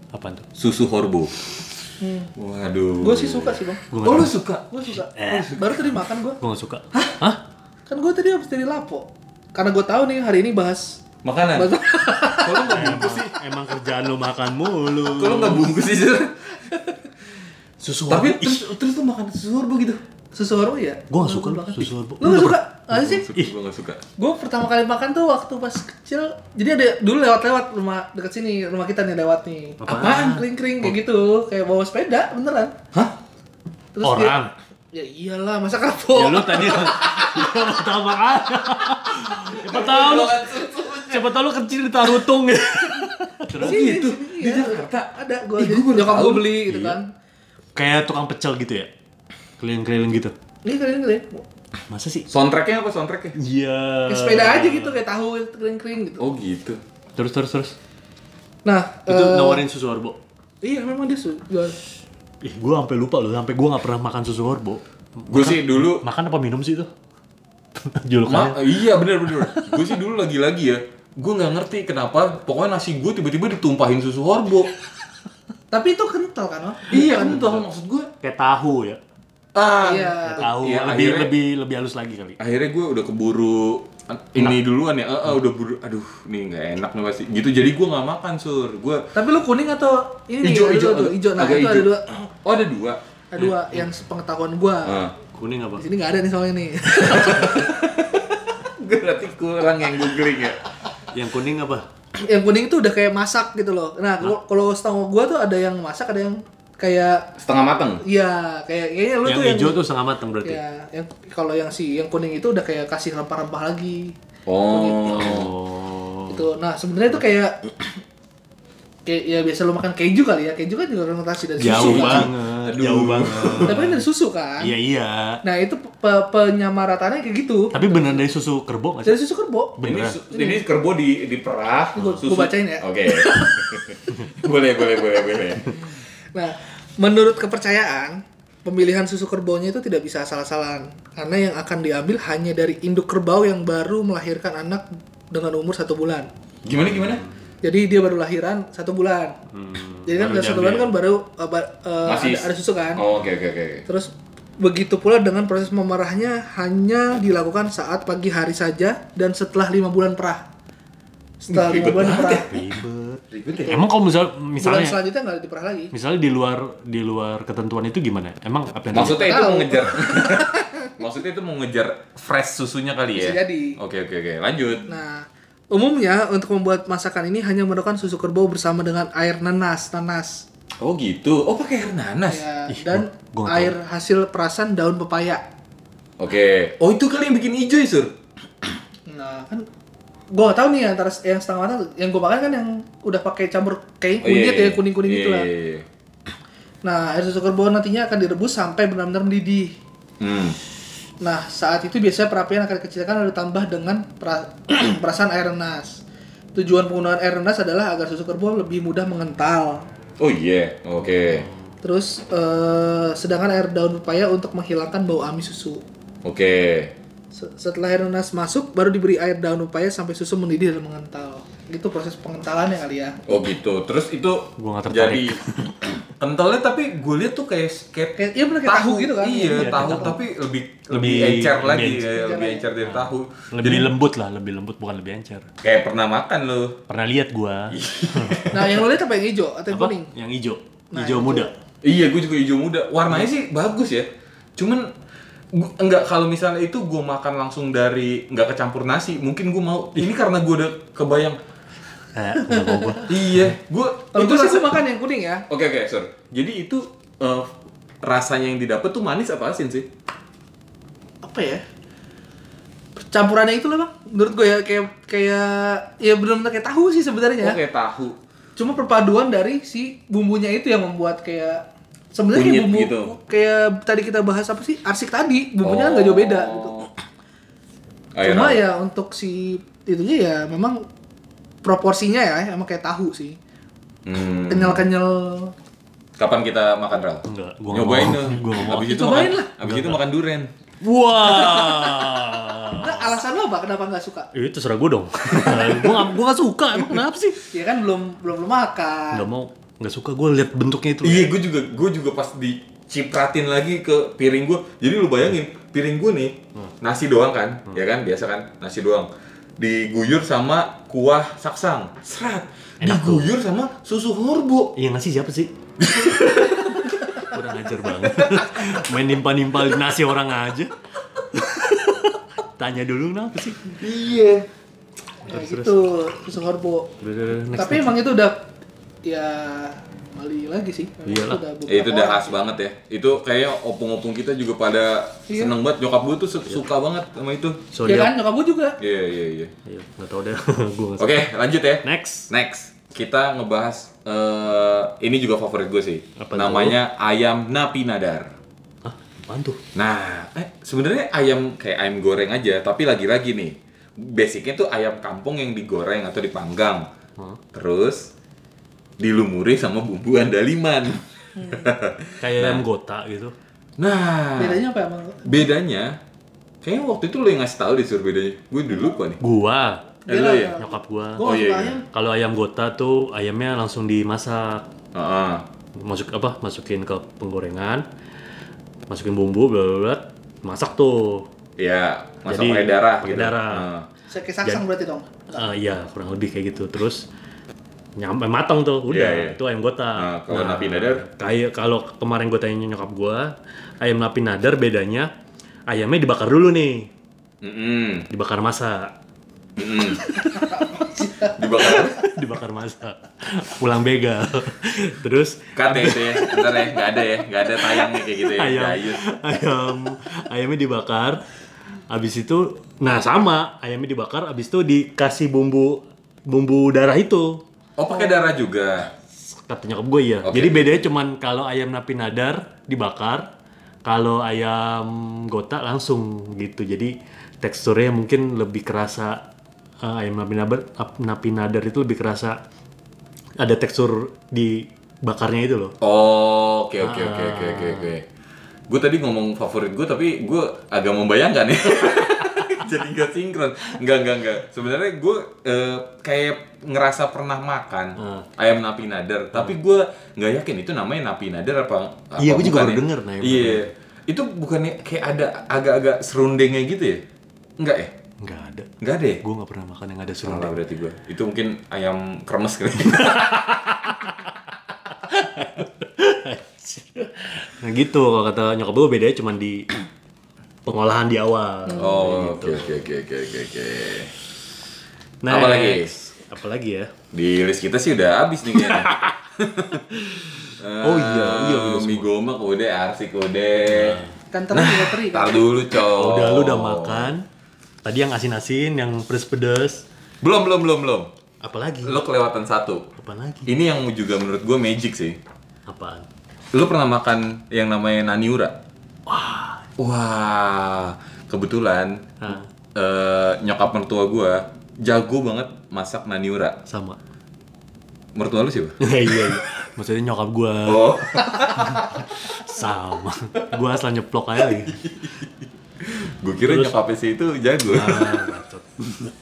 Apaan tuh? susu horbo. Waduh. Hmm. Gua sih suka sih, Bang. Oh, lu suka? Gua suka. Eh. Baru tadi makan gua. Gua nggak suka. Hah? Kan gua tadi habis dari lapo. Karena gua tahu nih hari ini bahas Makanan? bahas Kok lu nggak bungkus sih? Emang kerjaan lu makan mulu. Kok lu nggak bungkus sih? Sur? Susu tapi Ih, terus, terus lu makan susu horbo gitu? susu hormon ya. Gua nggak suka Gua lu, makan. susu hormon. Lu nggak suka? Nggak sih? Gue nggak suka. Gue pertama kali makan tuh waktu pas kecil. Jadi ada dulu lewat-lewat rumah deket sini, rumah kita nih lewat nih. Apaan? Kering-kering Oh. kayak gitu, kayak bawa sepeda beneran. Hah? Orang? Dia, ya iyalah, masa Ya kapok. (laughs) lu tadi (laughs) Iya, Lu pertama kali. Siapa tahu lu siapa tahu lu kecil di Tarutung ya. Terus Sini, gitu? sini, Di iya. Jakarta? ada gue Ih, jadi gua baru nyokap gue tahu. Iya. beli gitu kan. kayak tukang pecel gitu ya. Keliling-keliling gitu. Ini kering-kering. Masa sih? Soundtracknya apa soundtracknya? Iya. Kayak sepeda aja gitu kayak tahu kering-kering gitu. Eh. Oh gitu. Terus terus terus. Nah, Itu eh, nawarin susu horbo. iya memang dia su- jual. Ih, gua sampai lupa loh, sampai gua nggak pernah makan susu horbo. Gue sih dulu Makan apa minum sih itu? (laughs) Ma- Julukannya. iya bener bener. gue sih dulu lagi-lagi ya. Gue nggak ngerti kenapa. Pokoknya nasi gue tiba-tiba ditumpahin susu horbo. Tapi itu kental kan, Wak? iya kental maksud gue. Kayak tahu ya. Ah. Iya. Kayak tahu Iya, lebih akhirnya- lebih lebih halus lagi kali. Akhirnya gue udah keburu an- ini duluan ya. Eh, eh, udah buru. Aduh, nih nggak enak nih pasti. Gitu jadi gue nggak makan sur. Gue Tapi lu kuning atau ini hijau nih, ada hijau dua tuh, hijau. Nah, agak itu ada hijau. dua. Oh ada dua. Ada dua yang sepengetahuan gua. (laughs) Ah. Kuning apa? Di sini nggak ada nih soalnya nih. (laughs) Gue berarti kurang yang googling ya. Yang kuning apa? yang kuning itu udah kayak masak gitu loh. Nah, kalau- kalau setahu gua tuh ada yang masak, ada yang kayak Setengah matang. iya, kayak kayaknya lu yang tuh hijau tuh setengah matang berarti. ya, yang kalau yang si yang kuning itu udah kayak kasih rempah-rempah lagi. Oh. Oh. Gitu. Nah, sebenarnya itu kayak (clears throat) kayak ya biasa lu makan keju kali ya. Keju kan juga fermentasi dari Jauh susu. Kan? banget, Aduh. jauh banget. Tapi kan dari susu kan. Iya iya. Nah, itu pe- penyamaratannya kayak gitu. Tapi beneran dari susu kerbau nggak sih? Dari susu kan Ini, kerbau. Beneran. su- ini kerbau di di perah. Gua- susu- gua bacain ya. Oke. (laughs) boleh boleh boleh boleh. Nah, menurut kepercayaan, pemilihan susu kerbaunya itu tidak bisa asal-asalan. Karena yang akan diambil hanya dari induk kerbau yang baru melahirkan anak dengan umur satu bulan. Gimana gimana? Jadi dia baru lahiran satu bulan. Jadi kan baru udah diambil. satu bulan kan baru uh, ba- uh, Masih- ada, ada susu kan. Oh, Oke oke oke. Terus begitu pula dengan proses memerahnya hanya dilakukan saat pagi hari saja dan setelah lima bulan perah. setelah lima Ribet bulan diperah. ribet Ribet ya? emang kalau misal Bulan misalnya selanjutnya nggak diperah lagi. misalnya di luar di luar ketentuan itu gimana emang apa yang Maksudnya itu Tahu. mau ngejar. (laughs) Maksudnya itu mau ngejar fresh susunya kali ya. Bisa jadi. Oke oke oke. Lanjut. Nah, umumnya untuk membuat masakan ini hanya menggunakan susu kerbau bersama dengan air nanas, nanas. Oh gitu. Oh pakai air nanas. Ya, Ih, dan gua- gua nggak air hasil perasan daun pepaya. Oke. Oh itu kali yang bikin hijau ya, Sur? Nah, kan gua gak tahu nih antara yang setengah matang yang gua makan kan yang udah pakai campur kayak Oh, iya, kunyit iya, ya kuning-kuning iya, gitu lah. iya, iya. Nah, air susu kerbau nantinya akan direbus sampai benar-benar mendidih. Hmm. Nah, saat itu biasanya perapian akan dikecilkan lalu ditambah dengan pra- (clears throat) perasan air nanas. Tujuan penggunaan air nanas adalah agar susu kerbau lebih mudah mengental. Oh iya. Oke. Terus, eh, sedangkan air daun pepaya untuk menghilangkan bau amis susu. Oke. Se- Setelah air nanas masuk, baru diberi air daun pepaya sampai susu mendidih dan mengental. Gitu proses pengentalannya kali ya. Oh gitu. Terus itu Gua nggak tertarik. jadi kentalnya tapi gue lihat tuh kayak kayak, Kayak- iya bener, kayak tahu gitu kan. Iya, Iya, tahu kayak tahu. tapi lebih lebih, Lebih- encer lagi, lebih kayak encer. lebih encer Nah. dari tahu. lebih lembut lah lebih lembut bukan lebih encer Kayak pernah makan lu. pernah lihat gua Nah, yang lo lihat apa yang hijau atau yang apa kuning? yang hijau Nah, hijau itu. muda Iya, gue juga hijau muda. Warnanya sih bagus ya. Cuman gua- enggak kalau misalnya itu gue makan langsung dari enggak kecampur nasi, mungkin gue mau. Ini karena gue udah kebayang. eh, nggak mau gua Iya, gue Kalau itu gue sih rasa- gue makan yang kuning ya. Oke oke, sorry. Jadi itu eh, rasanya yang didapat tuh manis apa asin sih? Apa ya? Campurannya itu lah bang, menurut gue ya kayak kayak ya benar-benar kayak tahu sih sebenarnya. Oke, Oh, tahu. Cuma perpaduan dari si bumbunya itu yang membuat kayak sebenarnya kayak Kunyit bumbu gitu. kayak tadi kita bahas apa sih arsik tadi bumbunya kan nggak jauh beda gitu. Ayo, Cuma Ram. ya untuk si itunya ya memang proporsinya ya emang kayak tahu sih Hmm. kenyal-kenyal Kapan kita makan Ral? Enggak, gua nggak Nyobain mau. tuh. Gua nggak mau. Abis itu Cobain makan, lah. Abis itu makan duren. wah Nah, alasan lo apa kenapa nggak suka? itu terserah gua (laughs) dong gua nggak gua nggak suka emang kenapa sih Ya kan belum belum belum makan. nggak mau nggak suka gua lihat bentuknya itu Iya, gue juga gue juga pas dicipratin lagi ke piring gue. Jadi lu bayangin, piring gue nih Hmm. nasi doang kan, ya kan biasa kan, nasi doang. Diguyur sama kuah saksang, serat. Enak tuh. Diguyur sama susu horbo. Iya nasi siapa sih? (laughs) Kurang ajar banget. Main nimpa-nimpa nasi orang aja. (laughs) Tanya dulu kenapa sih? Iya. Ya gitu, susu horbo. Tapi emang itu udah ya Bali lagi sih. Emang Iyalah. beberapa itu udah orang. khas banget ya. Itu kayaknya opung-opung kita juga pada Iya. seneng banget. Nyokap gue tuh su- suka banget sama itu. Sorry. Ya ya. kan nyokap gue juga. Iya, iya, iya. Iya, nggak tahu deh. (laughs) Gua nggak suka. Oke, lanjut ya. Next. Next, kita ngebahas eh, ini juga favorit gue sih. Apa tuh? Namanya ayam napi nadar. Hah, apaan tuh? Nah, eh, sebenarnya ayam kayak ayam goreng aja, tapi lagi-lagi nih, basicnya tuh ayam kampung yang digoreng atau dipanggang, terus dilumuri sama bumbu andaliman. Kayak ayam gota gitu. Nah, bedanya, Bedanya apa emang? kayaknya waktu itu lo yang ngasih tahu deh sur bedanya. Gue dulu lupa nih. Gua, Eh, lo ya? nyokap gua. Gue Oh, iya, suka iya. ayam. Kalau ayam gota tuh ayamnya langsung dimasak. Heeh. Masuk apa? Masukin ke penggorengan. Masukin bumbu, bla bla bla. Masak tuh. Ya, masak Jadi, pakai darah pakai gitu. darah. Heeh. Saya kayak saksang berarti dong. Eh, iya kurang lebih kayak gitu terus nyampe matang tuh udah Iya, iya. itu ayam gota Nah, kalau napi nadar? kayak kalau kemarin gue tanya nyokap gue ayam napi nadar bedanya ayamnya dibakar dulu nih Mm-mm. dibakar masa (laughs) Mm-mm. Dibakar. dibakar masa pulang begal (laughs) terus Cut ya itu ya, ntar ya, nggak ada ya, nggak ada tayangnya kayak gitu ya, ayam Dayus. ayam ayamnya dibakar abis itu nah sama ayamnya dibakar abis itu dikasih bumbu bumbu darah itu Oh pakai darah juga. Kata nyokap gue iya. Oke. Jadi bedanya cuman kalau ayam napi nadar dibakar, kalau ayam gota langsung gitu. Jadi teksturnya mungkin lebih kerasa eh, ayam napi nadar, ap- napi nadar itu lebih kerasa ada tekstur di bakarnya itu loh. Oh, oke oke oke Ah. oke oke oke. Gue tadi ngomong favorit gue tapi gue agak membayangkan ya. (laughs) Jadi nggak sinkron. Nggak nggak nggak. Sebenarnya gue eh, kayak ngerasa pernah makan Ah. ayam napi nadar, tapi gue nggak yakin itu namanya napi nadar apa? apa Iya, gua bukan juga baru ya. denger, nah, yang Iya. Itu bukannya kayak ada ya? agak-agak serundengnya gitu ya? Enggak ya? nggak ada Enggak deh. gue nggak pernah makan yang ada Salah serundeng berarti gue. Itu mungkin ayam kremes kali. (laughs) nah gitu kalau kata nyokap gue bedanya cuma di pengolahan di awal gitu. oh, oke oke oke oke oke oke. Next. Apa lagi? apa lagi ya Di list kita sih udah habis nih kayaknya. (laughs) Oh iya, iya, Eh, udah semua. Nah. Mie goma kode, arsik kode. Kan terus Nah, juga teri kan. Tar dulu, cowok. udah lu Oh. udah makan tadi yang asin-asin yang pedes-pedes Belum, belum, belum, belum. apalagi Lu kelewatan satu. apa lagi Ini yang juga menurut gue magic sih. apaan Lu pernah makan yang namanya naniura? Wah. Wah. Kebetulan Hah. eh, nyokap mertua gue jago banget masak naniura. sama (laughs) Mertua lu siapa? iya iya iya. maksudnya nyokap gue Oh. sama gue asal nyeplok aja lagi (laughs) gue kira nyokapnya sih itu jago. Ah, bacot.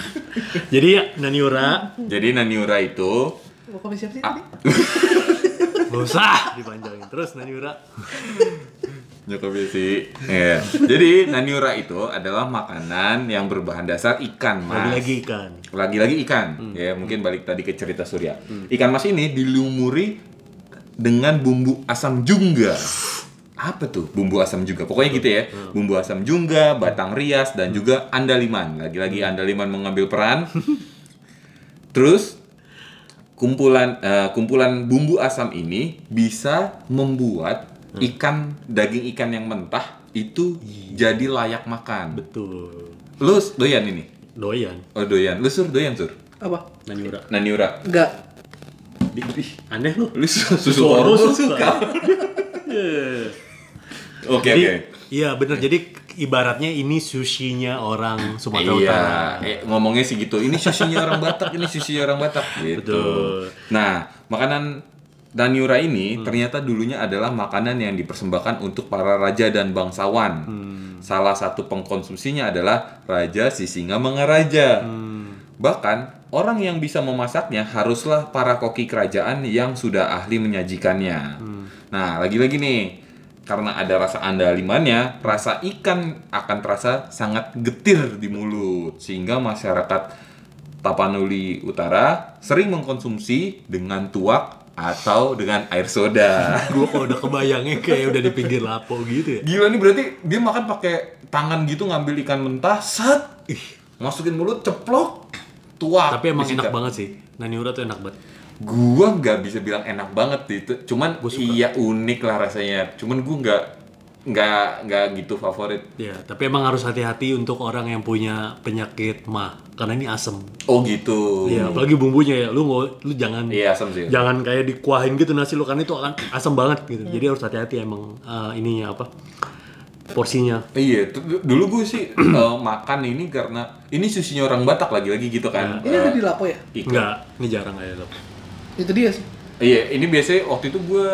(laughs) jadi ya, Naniura Jadi naniura itu Mau kopi siapa sih Ah. tadi? gak usah dipanjangin terus Naniura nyokapnya sih. Iya. Jadi naniura itu adalah makanan yang berbahan dasar ikan, Mas. lagi-lagi ikan lagi-lagi ikan ya mungkin balik tadi ke cerita Surya ikan mas ini dilumuri dengan bumbu asam jungga apa tuh bumbu asam juga pokoknya gitu ya bumbu asam jungga batang rias dan juga andaliman lagi-lagi andaliman mengambil peran terus kumpulan eh, kumpulan bumbu asam ini bisa membuat ikan daging ikan yang mentah itu jadi layak makan betul lu doyan ini doyan Oh doyan, lu sur doyan sur. Apa? Naniura Naniura. Enggak. aneh lu Lu su- susu Susu Oro lu Oro suka. suka. Iya. (laughs) Oke jadi oke. iya bener jadi ibaratnya ini sushinya orang Iya, Sumatera Utara eh, ngomongnya sih gitu. Ini susinya orang Batak, ini susinya orang Batak gitu. Betul. Nah, makanan Naniura Hmm. ini ternyata dulunya adalah makanan yang dipersembahkan untuk para raja dan bangsawan. Hmm. Salah satu pengkonsumsinya adalah Raja Sisinga Hmm. Mengaraja. Bahkan orang yang bisa memasaknya haruslah para koki kerajaan yang sudah ahli menyajikannya. Hmm. Nah, lagi-lagi nih karena ada rasa andalimannya, rasa ikan akan terasa sangat getir di mulut sehingga masyarakat Tapanuli Utara sering mengkonsumsi dengan tuak atau dengan air (laughs) soda. gue kalau udah kebayangnya kayak udah di pinggir lapo gitu ya Gila nih berarti dia makan pakai tangan gitu ngambil ikan mentah, set, ih, masukin mulut, ceplok, tuak. tapi emang disita. enak banget sih Naniura tuh enak banget Gua nggak bisa bilang enak banget sih itu, cuman iya unik lah rasanya. Cuman gua nggak nggak nggak gitu favorit. ya tapi emang harus hati-hati untuk orang yang punya penyakit mah karena ini asem Oh gitu. Iya, Ya. apalagi bumbunya ya lu nggak lu jangan Iya, asam sih. jangan kayak dikuahin gitu nasi lu karena itu akan asam banget gitu jadi harus hati-hati emang eh, ininya apa porsinya Iya, tu- dulu gue sih (clears throat) eh, makan ini karena ini susinya orang Batak lagi-lagi gitu kan. Ini ada di lapo ya? Ikan. enggak ini jarang ada loh Itu dia sih. Iya, ini biasanya waktu itu gue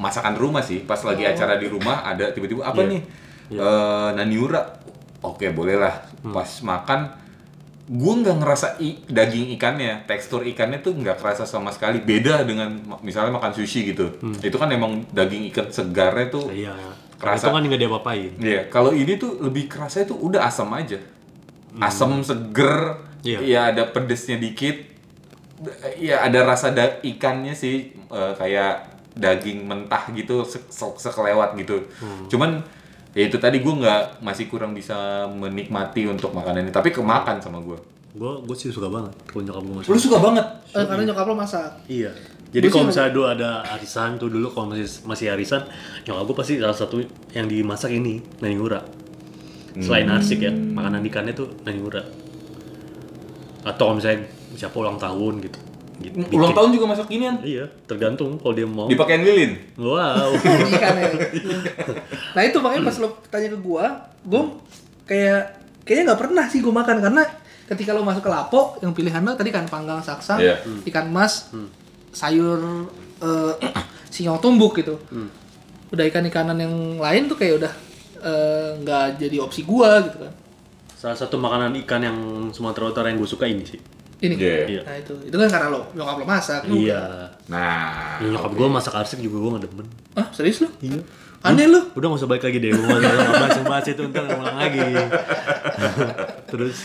masakan rumah sih, pas lagi acara di rumah ada tiba-tiba apa nih Eh, naniura. Oke, bolehlah. Pas makan, gue nggak ngerasa i- daging ikannya, tekstur ikannya tuh nggak kerasa sama sekali. Beda dengan ma- misalnya makan sushi gitu. Itu kan emang daging ikan segarnya tuh. Iya. iya karena Kerasa. itu kan nggak dia apain Iya, kalau ini tuh lebih kerasa itu udah asam aja. Asam seger, Iya. ya ada pedesnya dikit, ya ada rasa da- ikannya sih eh, kayak daging mentah gitu se- se- sekelewat gitu cuman ya itu tadi gue nggak masih kurang bisa menikmati untuk makanan ini tapi kemakan sama gue gue gue sih suka banget kalau nyokap gue masak lu suka banget Eh, karena nyokap lo masak. iya jadi Gua kalau sih misalnya dulu ada arisan tuh dulu kalau masih masih arisan nyokap gue pasti salah satu yang dimasak ini naniura selain arsik ya makanan ikannya tuh naniura atau kalau misalnya siapa ulang tahun gitu, gitu ulang bikin. tahun juga masak ginian iya tergantung kalau dia mau dipakein lilin wow Ikan ya. nah itu makanya pas lo tanya ke gua, gua kayak kayaknya nggak pernah sih gua makan karena ketika lo masuk ke lapo yang pilihan lo tadi kan panggang saksang, Iya. Hmm. ikan mas, sayur eh, (clears throat) sinyal tumbuk gitu. Hmm. Udah ikan-ikanan yang lain tuh kayak udah eh, nggak jadi opsi gua gitu kan. salah satu makanan ikan yang Sumatera Utara yang gue suka ini sih Ini. Iya. Nah itu itu kan karena lo nyokap lo masak. juga. iya nah Ya, nyokap gue masak arsik juga gue gak demen Ah serius lo? iya Aneh lo? udah gak usah balik lagi deh gue gak usah bahas yang bahas itu ntar ulang (laughs) lagi. Terus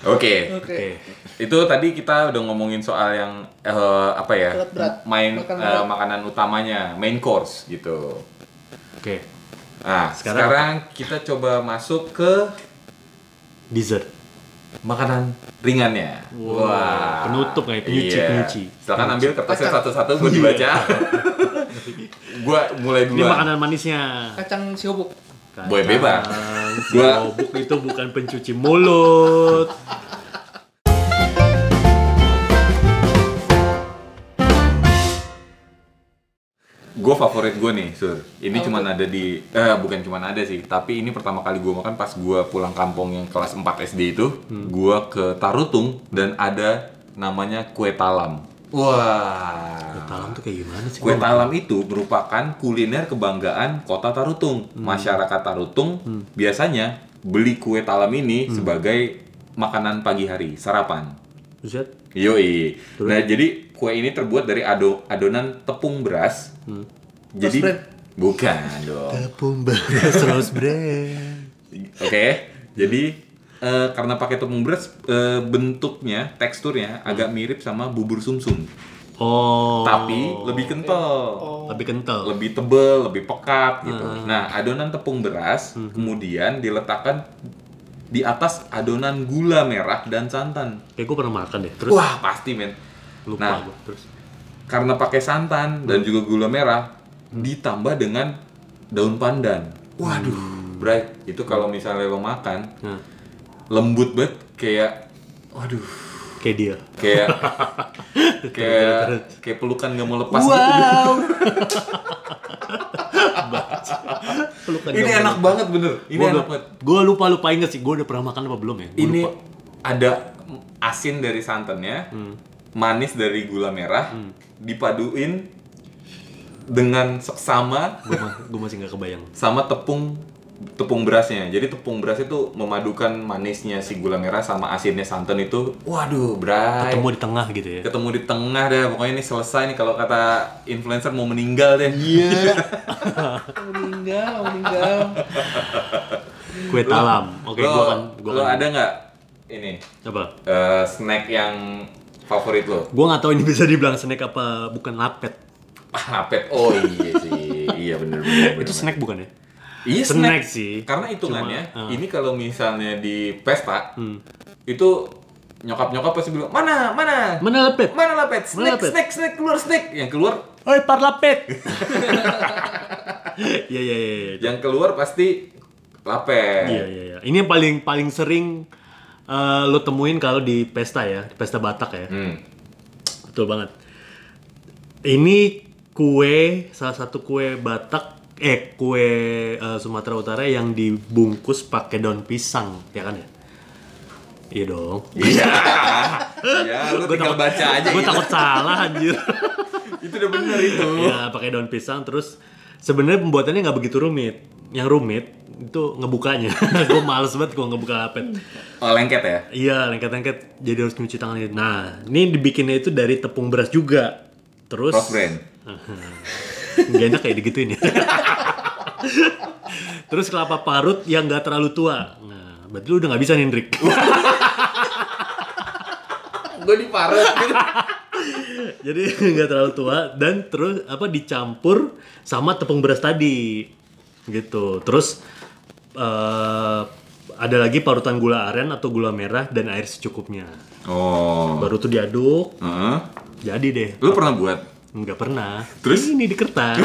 Oke. Oke. oke. Itu tadi kita udah ngomongin soal yang eh, apa ya? Berat, berat. Main eh, Makanan makanan, berat. utamanya, main course gitu. Oke. Nah, Sekarang sekarang, kita coba masuk ke Dessert. makanan ringannya. Wow. Penutup nggak ya? Penyuci, Iya. penyuci. Silakan Penyuci. ambil kertasnya Kacang. satu-satu buat (laughs) dibaca. gua mulai Ini duluan. makanan manisnya. Kacang siobok. Boy bebas. Gua- Gua bubuk itu bukan pencuci mulut. Gue favorit gue nih, Sur. Ini cuman ada di, eh bukan cuman ada sih, tapi ini pertama kali gue makan pas gue pulang kampung yang kelas 4 SD itu, gua ke Tarutung dan ada namanya kue talam. Wah. Talam tuh kayak gimana sih? Kue talam itu merupakan kuliner kebanggaan kota Tarutung. Masyarakat Tarutung biasanya beli kue talam ini sebagai makanan pagi hari, sarapan. Buset. Yoi. Nah, jadi kue ini terbuat dari ado adonan tepung beras. Hmm. Jadi Terus, Bren? bukan dong. Tepung beras rose bread. Oke. Jadi eh, karena pakai tepung beras eh, bentuknya, teksturnya agak mirip sama bubur sumsum, Hmm. Oh. tapi lebih kental. lebih kental. lebih tebel, lebih pekat gitu. Hmm. Nah, adonan tepung beras kemudian diletakkan di atas adonan gula merah dan santan. Kayak gue pernah makan deh. Terus Wah, pasti men. lupa nah, gua. Terus karena pakai santan dan juga gula merah ditambah dengan daun pandan. Waduh, Bray, itu kalau misalnya lo makan Nah, lembut banget kayak waduh, kayak dia. kayak kayak kayak pelukan gak mau lepas Pelukan gitu. Ini enak banget bener. Ini enak banget. Gue lupa lupa inget sih, gue udah pernah makan apa belum ya? Gua Ini lupa. ada asin dari santannya, manis dari gula merah, dipaduin dengan seksama Gua ma- gua masih nggak kebayang. sama tepung tepung berasnya. Jadi tepung beras itu memadukan manisnya si gula merah sama asinnya santan itu. Waduh, bray. Ketemu Ketemu, di tengah gitu ya. di tengah deh. Pokoknya ini selesai nih kalau kata influencer mau meninggal deh. Iya. (laughs) Mau meninggal, mau meninggal. Kue talam. Oke, lo, gue akan gua lo akan- ada nggak ini apa? eh, snack yang favorit lo? Gue nggak tahu ini bisa dibilang snack apa bukan lapet. Ah, Apet. Oh iya sih. iya bener bener. bener. Itu snack bukan ya? Iya snack sih. eh. Karena hitungannya Cuma, ini kalau misalnya di pesta Hmm. itu nyokap-nyokap pasti bilang, "Mana? Mana? Mana lapet? Mana lapet? Snack, Mana lapet?" snack, snack, keluar snack." Yang keluar Oi, par lapet. (laughs) Iya iya iya. iya. yang keluar pasti lapet. Iya iya iya. Ini yang paling paling sering eh, lo temuin kalau di pesta ya, di pesta Batak ya. Hmm. Betul banget. Ini kue salah satu kue Batak eh kue eh, Sumatera Utara yang dibungkus pakai daun pisang, ya kan ya? Iya dong. Iya. Iya, lu Gua tinggal takut- baca aja. Gue gitu. takut salah (laughs) anjir. Itu udah bener itu. ya pakai daun pisang terus sebenarnya pembuatannya nggak begitu rumit. Yang rumit itu ngebukanya. (laughs) gue males banget gue ngebuka lapet. Oh, lengket ya? Iya, lengket-lengket jadi harus nyuci tangan itu. Nah, ini dibikinnya itu dari tepung beras juga. Terus Rose brand. (laughs) Gak enak kayak digituin ya. Terus kelapa parut yang gak terlalu tua. Nah, berarti lu udah gak bisa nindrik. Gue diparut gitu. (laughs) jadi gak terlalu tua dan terus apa dicampur sama tepung beras tadi. Gitu. Terus eh, ada lagi parutan gula aren atau gula merah dan air secukupnya. Oh. Baru tuh diaduk, Heeh. jadi deh. Lu pernah buat? Nggak pernah. Terus? Ini di kertas.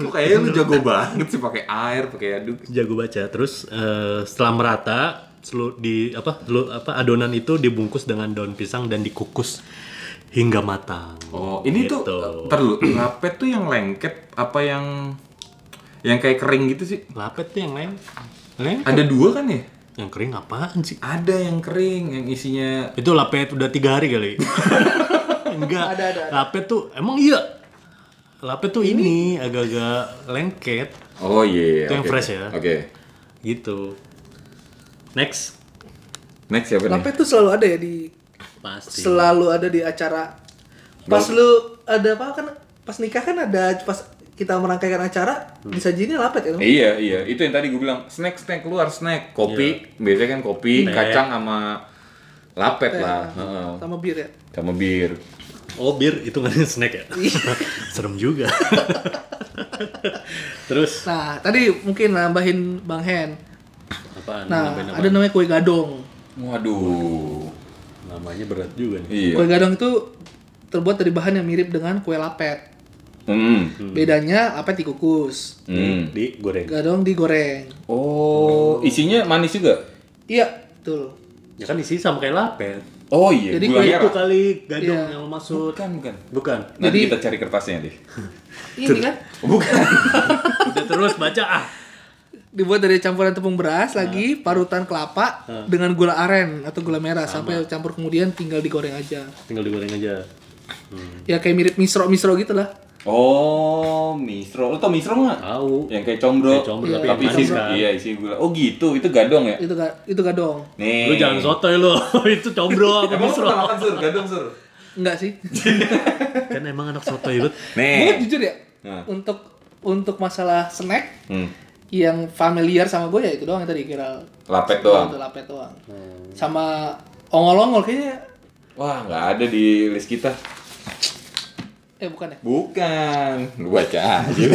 Lu kayaknya lu jago banget sih pakai air, pakai aduk. Jago baca. Terus eh, setelah merata, selu, di apa, selu- apa adonan itu dibungkus dengan daun pisang dan dikukus hingga matang. Oh, ini Gitu. tuh ntar dulu, lapet tuh yang lengket apa yang yang kayak kering gitu sih? Lapet tuh yang lain. Lain? Ada dua kan ya? Yang kering apaan sih? Ada yang kering, yang isinya Itu lapet udah tiga hari kali. Enggak. Ada, ada, ada. Lapet tuh emang iya. Lapet tuh ini agak-agak lengket Oh iya. Itu yang oke. fresh ya? Oke. gitu. Next. Next siapa nih? Lapet tuh selalu ada ya di Pasti. selalu ada di acara. Pas Bang. lu ada apa kan pas nikah kan ada pas kita merangkaikan acara disajiinnya lapet ya. Dong? Hmm. Iya, iya. Itu yang tadi gue bilang, snack, snack, keluar snack. Kopi, Iya. biasanya kan kopi, kacang sama lapet lah. Heeh. Sama bir ya. Sama bir. Oh bir itu nggak ada (laughs) snack ya? Serem juga. (laughs) Terus Nah, tadi mungkin nambahin Bang Hen. apaan? Nah, Namanya- ada namanya kue gadong. Waduh. namanya berat juga nih. Iya. Kue gadong itu terbuat dari bahan yang mirip dengan kue lapet. Hmm. Bedanya lapet dikukus, Hmm. Di goreng. gadong digoreng. Oh, isinya manis juga? Iya, betul. Ya kan isi sama kayak lapet. Oh iya, Jadi gula kue merah. Itu kali gadung Iya. yang lo maksud. Bukan, bukan. Bukan. Nanti Jadi- kita cari kertasnya deh. Ini kan Bukan. (laughs) Udah terus baca ah. dibuat dari campuran tepung beras Nah. lagi parutan kelapa dengan gula aren atau gula merah sampai campur kemudian tinggal digoreng aja. Tinggal digoreng aja. Hmm. Ya kayak mirip misro-misro gitu lah. Oh, mistro. Lo tau mistro nggak? Tahu. Yang kayak combro. Kayak combro, tapi, tapi yang isi, manis kan? iya, isi gula. Oh gitu, itu gadong ya? Itu ga- itu gadong. Nih. Lu jangan sotoy lu. (laughs) itu combro apa Eh. Emang lu misro. pernah makan sur, gadong sur? Enggak sih. kan emang anak sotoy lu. Gue Nih. jujur ya Eh. Nah. untuk untuk masalah snack Hmm. yang familiar sama gue ya itu doang yang tadi kira Lapet doang. Hmm. lapet doang. Sama ongol-ongol kayaknya Wah, nggak ada di list kita. eh bukan ya. Bukan. Lu baca aja.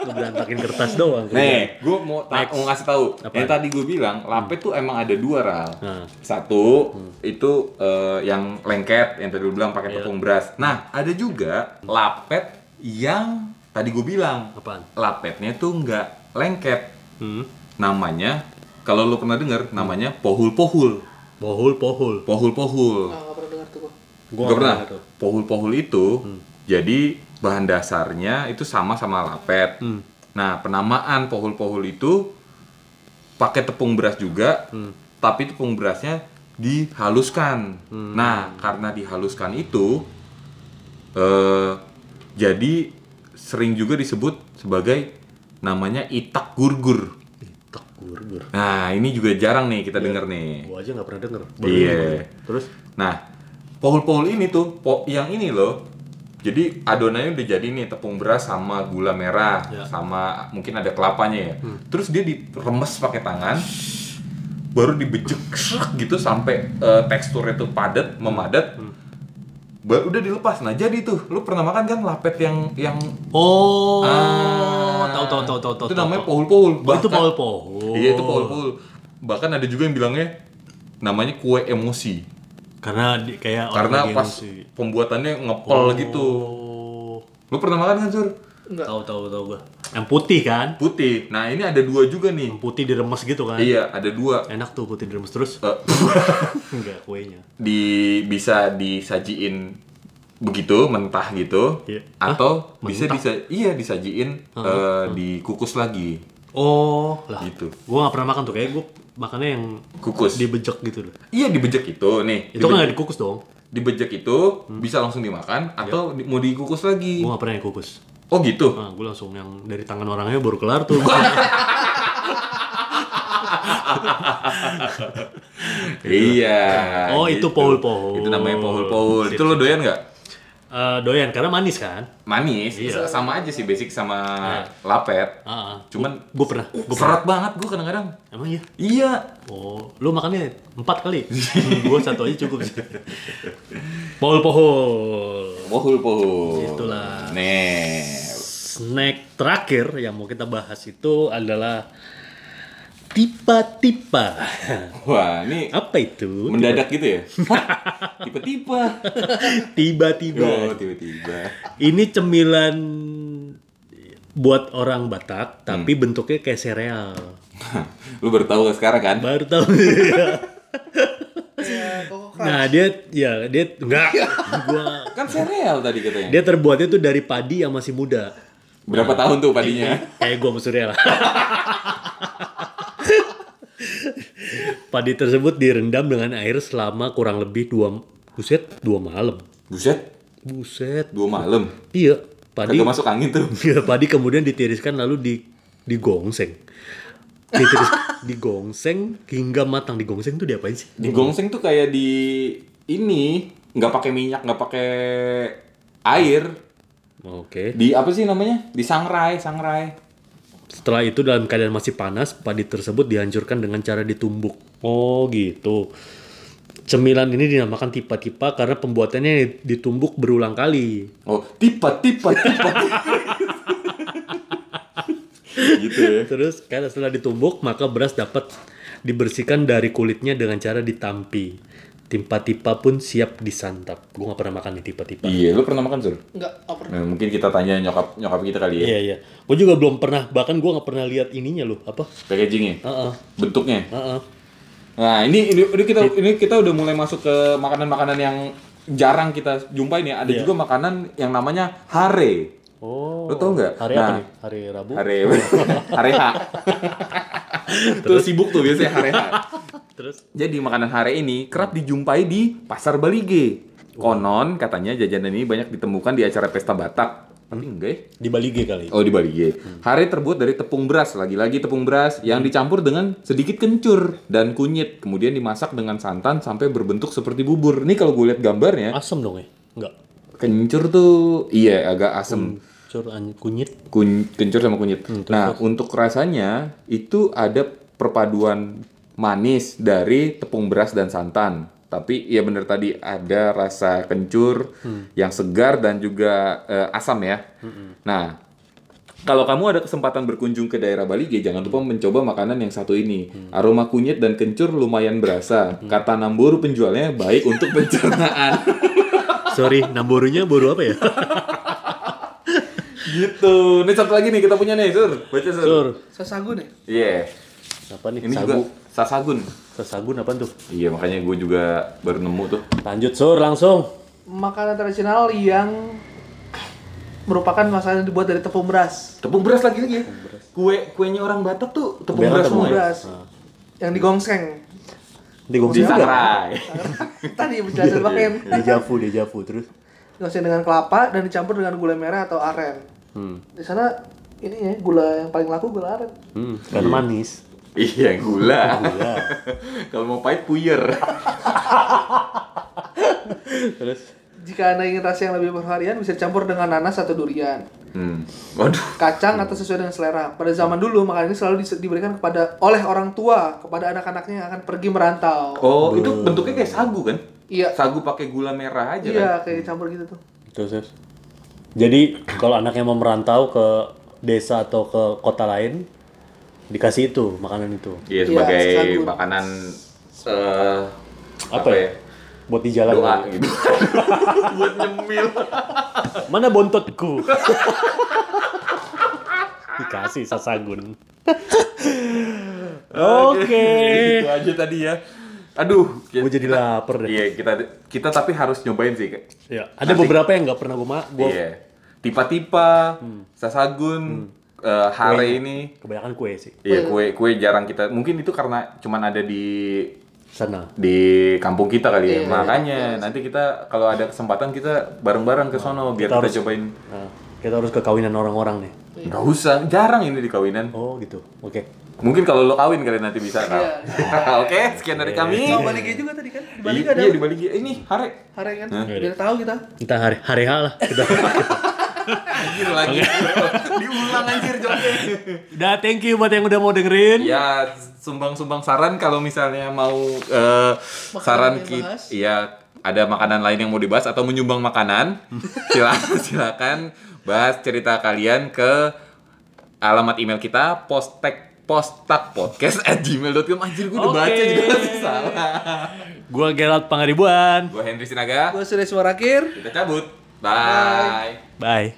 Ngeberantakin kertas doang. Nih, gue mau, ta- mau ngasih tahu. Yang tadi gue bilang, lapet tuh emang ada dua ral. Hmm. Satu itu eh, yang lengket, yang tadi gue bilang pakai tepung beras. Nah, ada juga lapet yang tadi gue bilang Apaan? lapetnya tuh nggak lengket. Hmm. Namanya kalau lu pernah denger namanya pohul-pohul. Pohul pohul. Pohul-pohul. Nah, nggak pernah dengar tuh gue. Gua nggak Hmm. pernah. tuh. Pohul-pohul itu jadi bahan dasarnya itu sama sama lapet. Hmm. Nah, penamaan pohul-pohul itu pakai tepung beras juga, Hmm. tapi tepung berasnya dihaluskan. Hmm. Nah, karena dihaluskan itu eh jadi sering juga disebut sebagai namanya itak gurgur. Tek gur Nah, ini juga jarang nih Iya. kita denger nih. Gua aja nggak pernah denger. Baru Iya. denger. Terus Nah, pohul-pohul ini tuh, po yang ini loh. Jadi adonannya udah jadi nih tepung beras sama gula merah Ya. Hmm. sama mungkin ada kelapanya ya. Terus dia diremes pakai tangan, baru dibejek srek gitu sampai eh, teksturnya tuh padat, Hmm. memadat. Baru udah dilepas. Nah, jadi tuh lu pernah makan kan lapet yang yang Oh, Ah, tahu tahu tahu tahu tahu. Itu tahu, namanya tahu. pohul-pohul. Oh, itu Bahkan- pohol pohol. Iya, itu pohul-pohol. Bahkan ada juga yang bilangnya namanya kue emosi. Karena di- kayak orang karena lagi pas emosi. pembuatannya ngepel gitu. Oh, Lu pernah makan kan, Sur? Enggak. tahu tahu tahu gua. Yang putih kan? Putih. Nah, ini ada dua juga nih. Yang putih diremes gitu kan? Iya, ada dua. Enak tuh putih diremes terus. Eh, (laughs) Enggak kuenya. di bisa disajiin begitu mentah gitu Iya. atau Hah? bisa Mentah? bisa iya disajiin eh, dikukus lagi Oh, lah. Gitu. Gua nggak pernah makan tuh kayak gua makannya yang kukus dibejek gitu loh. iya dibejek itu nih Itu Dibe- kan Hmm. Iya. nggak dikukus dong. dibejek itu bisa langsung dimakan atau di- mau dikukus lagi Gua nggak pernah yang kukus. oh gitu Nah, gue langsung yang dari tangan orangnya baru kelar (laughs) tuh. iya gitu. Oh, itu gitu. pohul-pohul. itu namanya pohul pohul itu lo doyan nggak Eh, doyan karena manis kan? manis Iya. sama aja sih basic sama lapet Ah, ah. cuman Gua pernah. Gua pernah. serat banget gue kadang-kadang Emang iya? iya Oh, lu makannya empat kali? (laughs) gua satu aja cukup sih. Pohol-pohol. pohul pohul Itulah. nih Snack terakhir yang mau kita bahas itu adalah tipa-tipa. wah ini (laughs) Apa itu? mendadak gitu ya (laughs) Hah? tiba-tiba (laughs) Tiba-tiba. oh tiba-tiba (laughs) Ini cemilan buat orang Batak, tapi Hmm. bentuknya kayak sereal. lu baru tahu sekarang kan Baru tahu. (laughs) Iya. Ya, kok Iya. nah, dia ya dia enggak gua kan sereal tadi katanya dia terbuatnya tuh dari padi yang masih muda. berapa tahun tuh padinya Kayak gua sama Surya lah. (laughs) Padi tersebut direndam dengan air selama kurang lebih dua buset dua malam. buset Buset. dua malam Iya. Padi kagak masuk angin tuh (laughs) Iya, padi kemudian ditiriskan lalu di digongseng. Ditiris, (laughs) digongseng hingga matang. Digongseng tuh diapain sih? digongseng tuh kayak di ini nggak pakai minyak nggak pakai air Oke. Di apa sih namanya? Di sangrai, sangrai. Setelah itu dalam keadaan masih panas, padi tersebut dihancurkan dengan cara ditumbuk. Oh gitu. Cemilan ini dinamakan tipa-tipa karena pembuatannya ditumbuk berulang kali. Oh, tipe, tipe, tipe. gitu ya. Terus karena setelah ditumbuk maka beras dapat dibersihkan dari kulitnya dengan cara ditampi. Timpa-tipa pun siap disantap. Gue gak pernah makan nih tipa-tipa. Iya, lu pernah makan sur? Enggak, over. Nah, mungkin kita tanya nyokap nyokap kita kali ya. Iya iya. Gue juga belum pernah. Bahkan gue gak pernah lihat ininya loh. Apa? Packagingnya, Heeh. bentuknya. Heeh. Nah, ini, ini ini kita ini kita udah mulai masuk ke makanan-makanan yang jarang kita jumpai nih. Ada juga makanan yang namanya hare. Oh. Lu tau nggak? Hari apa Nah. nih? Hari Rabu. Hare (laughs) hare ha. Tuh sibuk tuh biasanya hare ha. Terus Jadi makanan hare ini kerap dijumpai di Pasar Balige. Konon katanya jajanan ini banyak ditemukan di acara pesta Batak. Tapi enggak ya? di Bali G kali. Oh di Balige. Hare terbuat dari tepung beras, lagi-lagi tepung beras yang dicampur dengan sedikit kencur dan kunyit, kemudian dimasak dengan santan sampai berbentuk seperti bubur. Ini kalau gue lihat gambarnya, Asam dong ya? Enggak. kencur tuh iya agak asem. Cur an- kunyit. Kun- kencur sama kunyit. nah, untuk rasanya itu ada perpaduan manis dari tepung beras dan santan. Tapi ya bener tadi ada rasa kencur yang segar dan juga eh, asam ya. Nah, kalau kamu ada kesempatan berkunjung ke daerah Bali, ya jangan lupa mencoba makanan yang satu ini. Aroma kunyit dan kencur lumayan berasa. Kata Namburu penjualnya baik untuk (laughs) pencernaan. Sorry, namborunya baru apa ya? gitu. Ini satu lagi nih kita punya nih, Sur. Baca, Sur. Sur. Sasago deh. Iya. Apa nih? Ini Sagu. juga sasagun. Sasagun apa tuh? Iya makanya gue juga baru nemu tuh. Lanjut sur langsung. Makanan tradisional yang merupakan makanan yang dibuat dari tepung beras. Tepung beras lagi lagi. ya. Kue kuenya orang Batak tuh tepung Biar beras tepung semua. Tepung ya? beras. Yang (laughs) digongseng. Di Di Gongsi juga. sangrai. (laughs) Tadi Iya, penjelasan banget. Di Javu, di Javu terus. Digongseng dengan kelapa dan dicampur dengan gula merah atau aren. Di sana ini ya gula yang paling laku gula aren. Hmm, karena manis. Iya gula. Gula. (laughs) Kalau mau pahit puyer. terus Jika Anda ingin rasa yang lebih bervarian, bisa dicampur dengan nanas atau durian, Hmm. Waduh. kacang atau sesuai dengan selera. Pada zaman dulu, makanan ini selalu dis- diberikan kepada oleh orang tua kepada anak-anaknya yang akan pergi merantau. Oh itu bentuknya kayak sagu kan? Iya. Sagu pakai gula merah aja kan? Iya, kayak dicampur gitu tuh. terus. terus. Jadi kalau anaknya mau merantau ke desa atau ke kota lain dikasih itu makanan itu. Iya Iya, sebagai sagu. makanan eh, Apa ya? Buat di jalan. Doa gitu. (laughs) Buat nyemil. Mana bontotku? dikasih sasagun. Oke. Itu aja tadi ya. Aduh, Gue jadi lapar deh. Iya kita kita tapi harus nyobain sih. Kak. Ya, ada beberapa yang nggak pernah gue ma, gue Iya. Tipa-tipa, Hmm. sasagun, eh, hare ini. kebanyakan kue sih. Iya kue kue jarang kita. Mungkin itu karena cuman ada di Sana. di kampung kita kali ya. Iya, Makanya nanti kita kalau ada kesempatan kita bareng-bareng ke sono biar kita, harus- cobain. Nah, kita harus ke kawinan orang-orang nih. Gak usah, jarang ini di kawinan. Oh gitu. Oke. Mungkin kalau lo kawin kalian nanti bisa. Kak. Iya. (laughs) Oke, sekian dari kami. Mau balik juga tadi kan? Di Bali Iya, ada iya, di Bali. Ini hare. hari kan? Biar tahu kita. Kita hari hari H (laughs) lah. Kita. Anjir lagi. (laughs) Diulang anjir joget. Udah thank you buat yang udah mau dengerin. ya sumbang-sumbang saran kalau misalnya mau eh, saran yang kita dibahas. ya ada makanan lain yang mau dibahas atau menyumbang makanan silakan silakan bahas cerita kalian ke alamat email kita postek postakpodcast at gmail.com anjir gue udah baca Oke. juga sih, salah Gua Gerald Pangaribuan. gue Henry Sinaga Gue sudah semua akhir. kita cabut bye. Bye.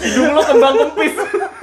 Hidung lo kembang kempis.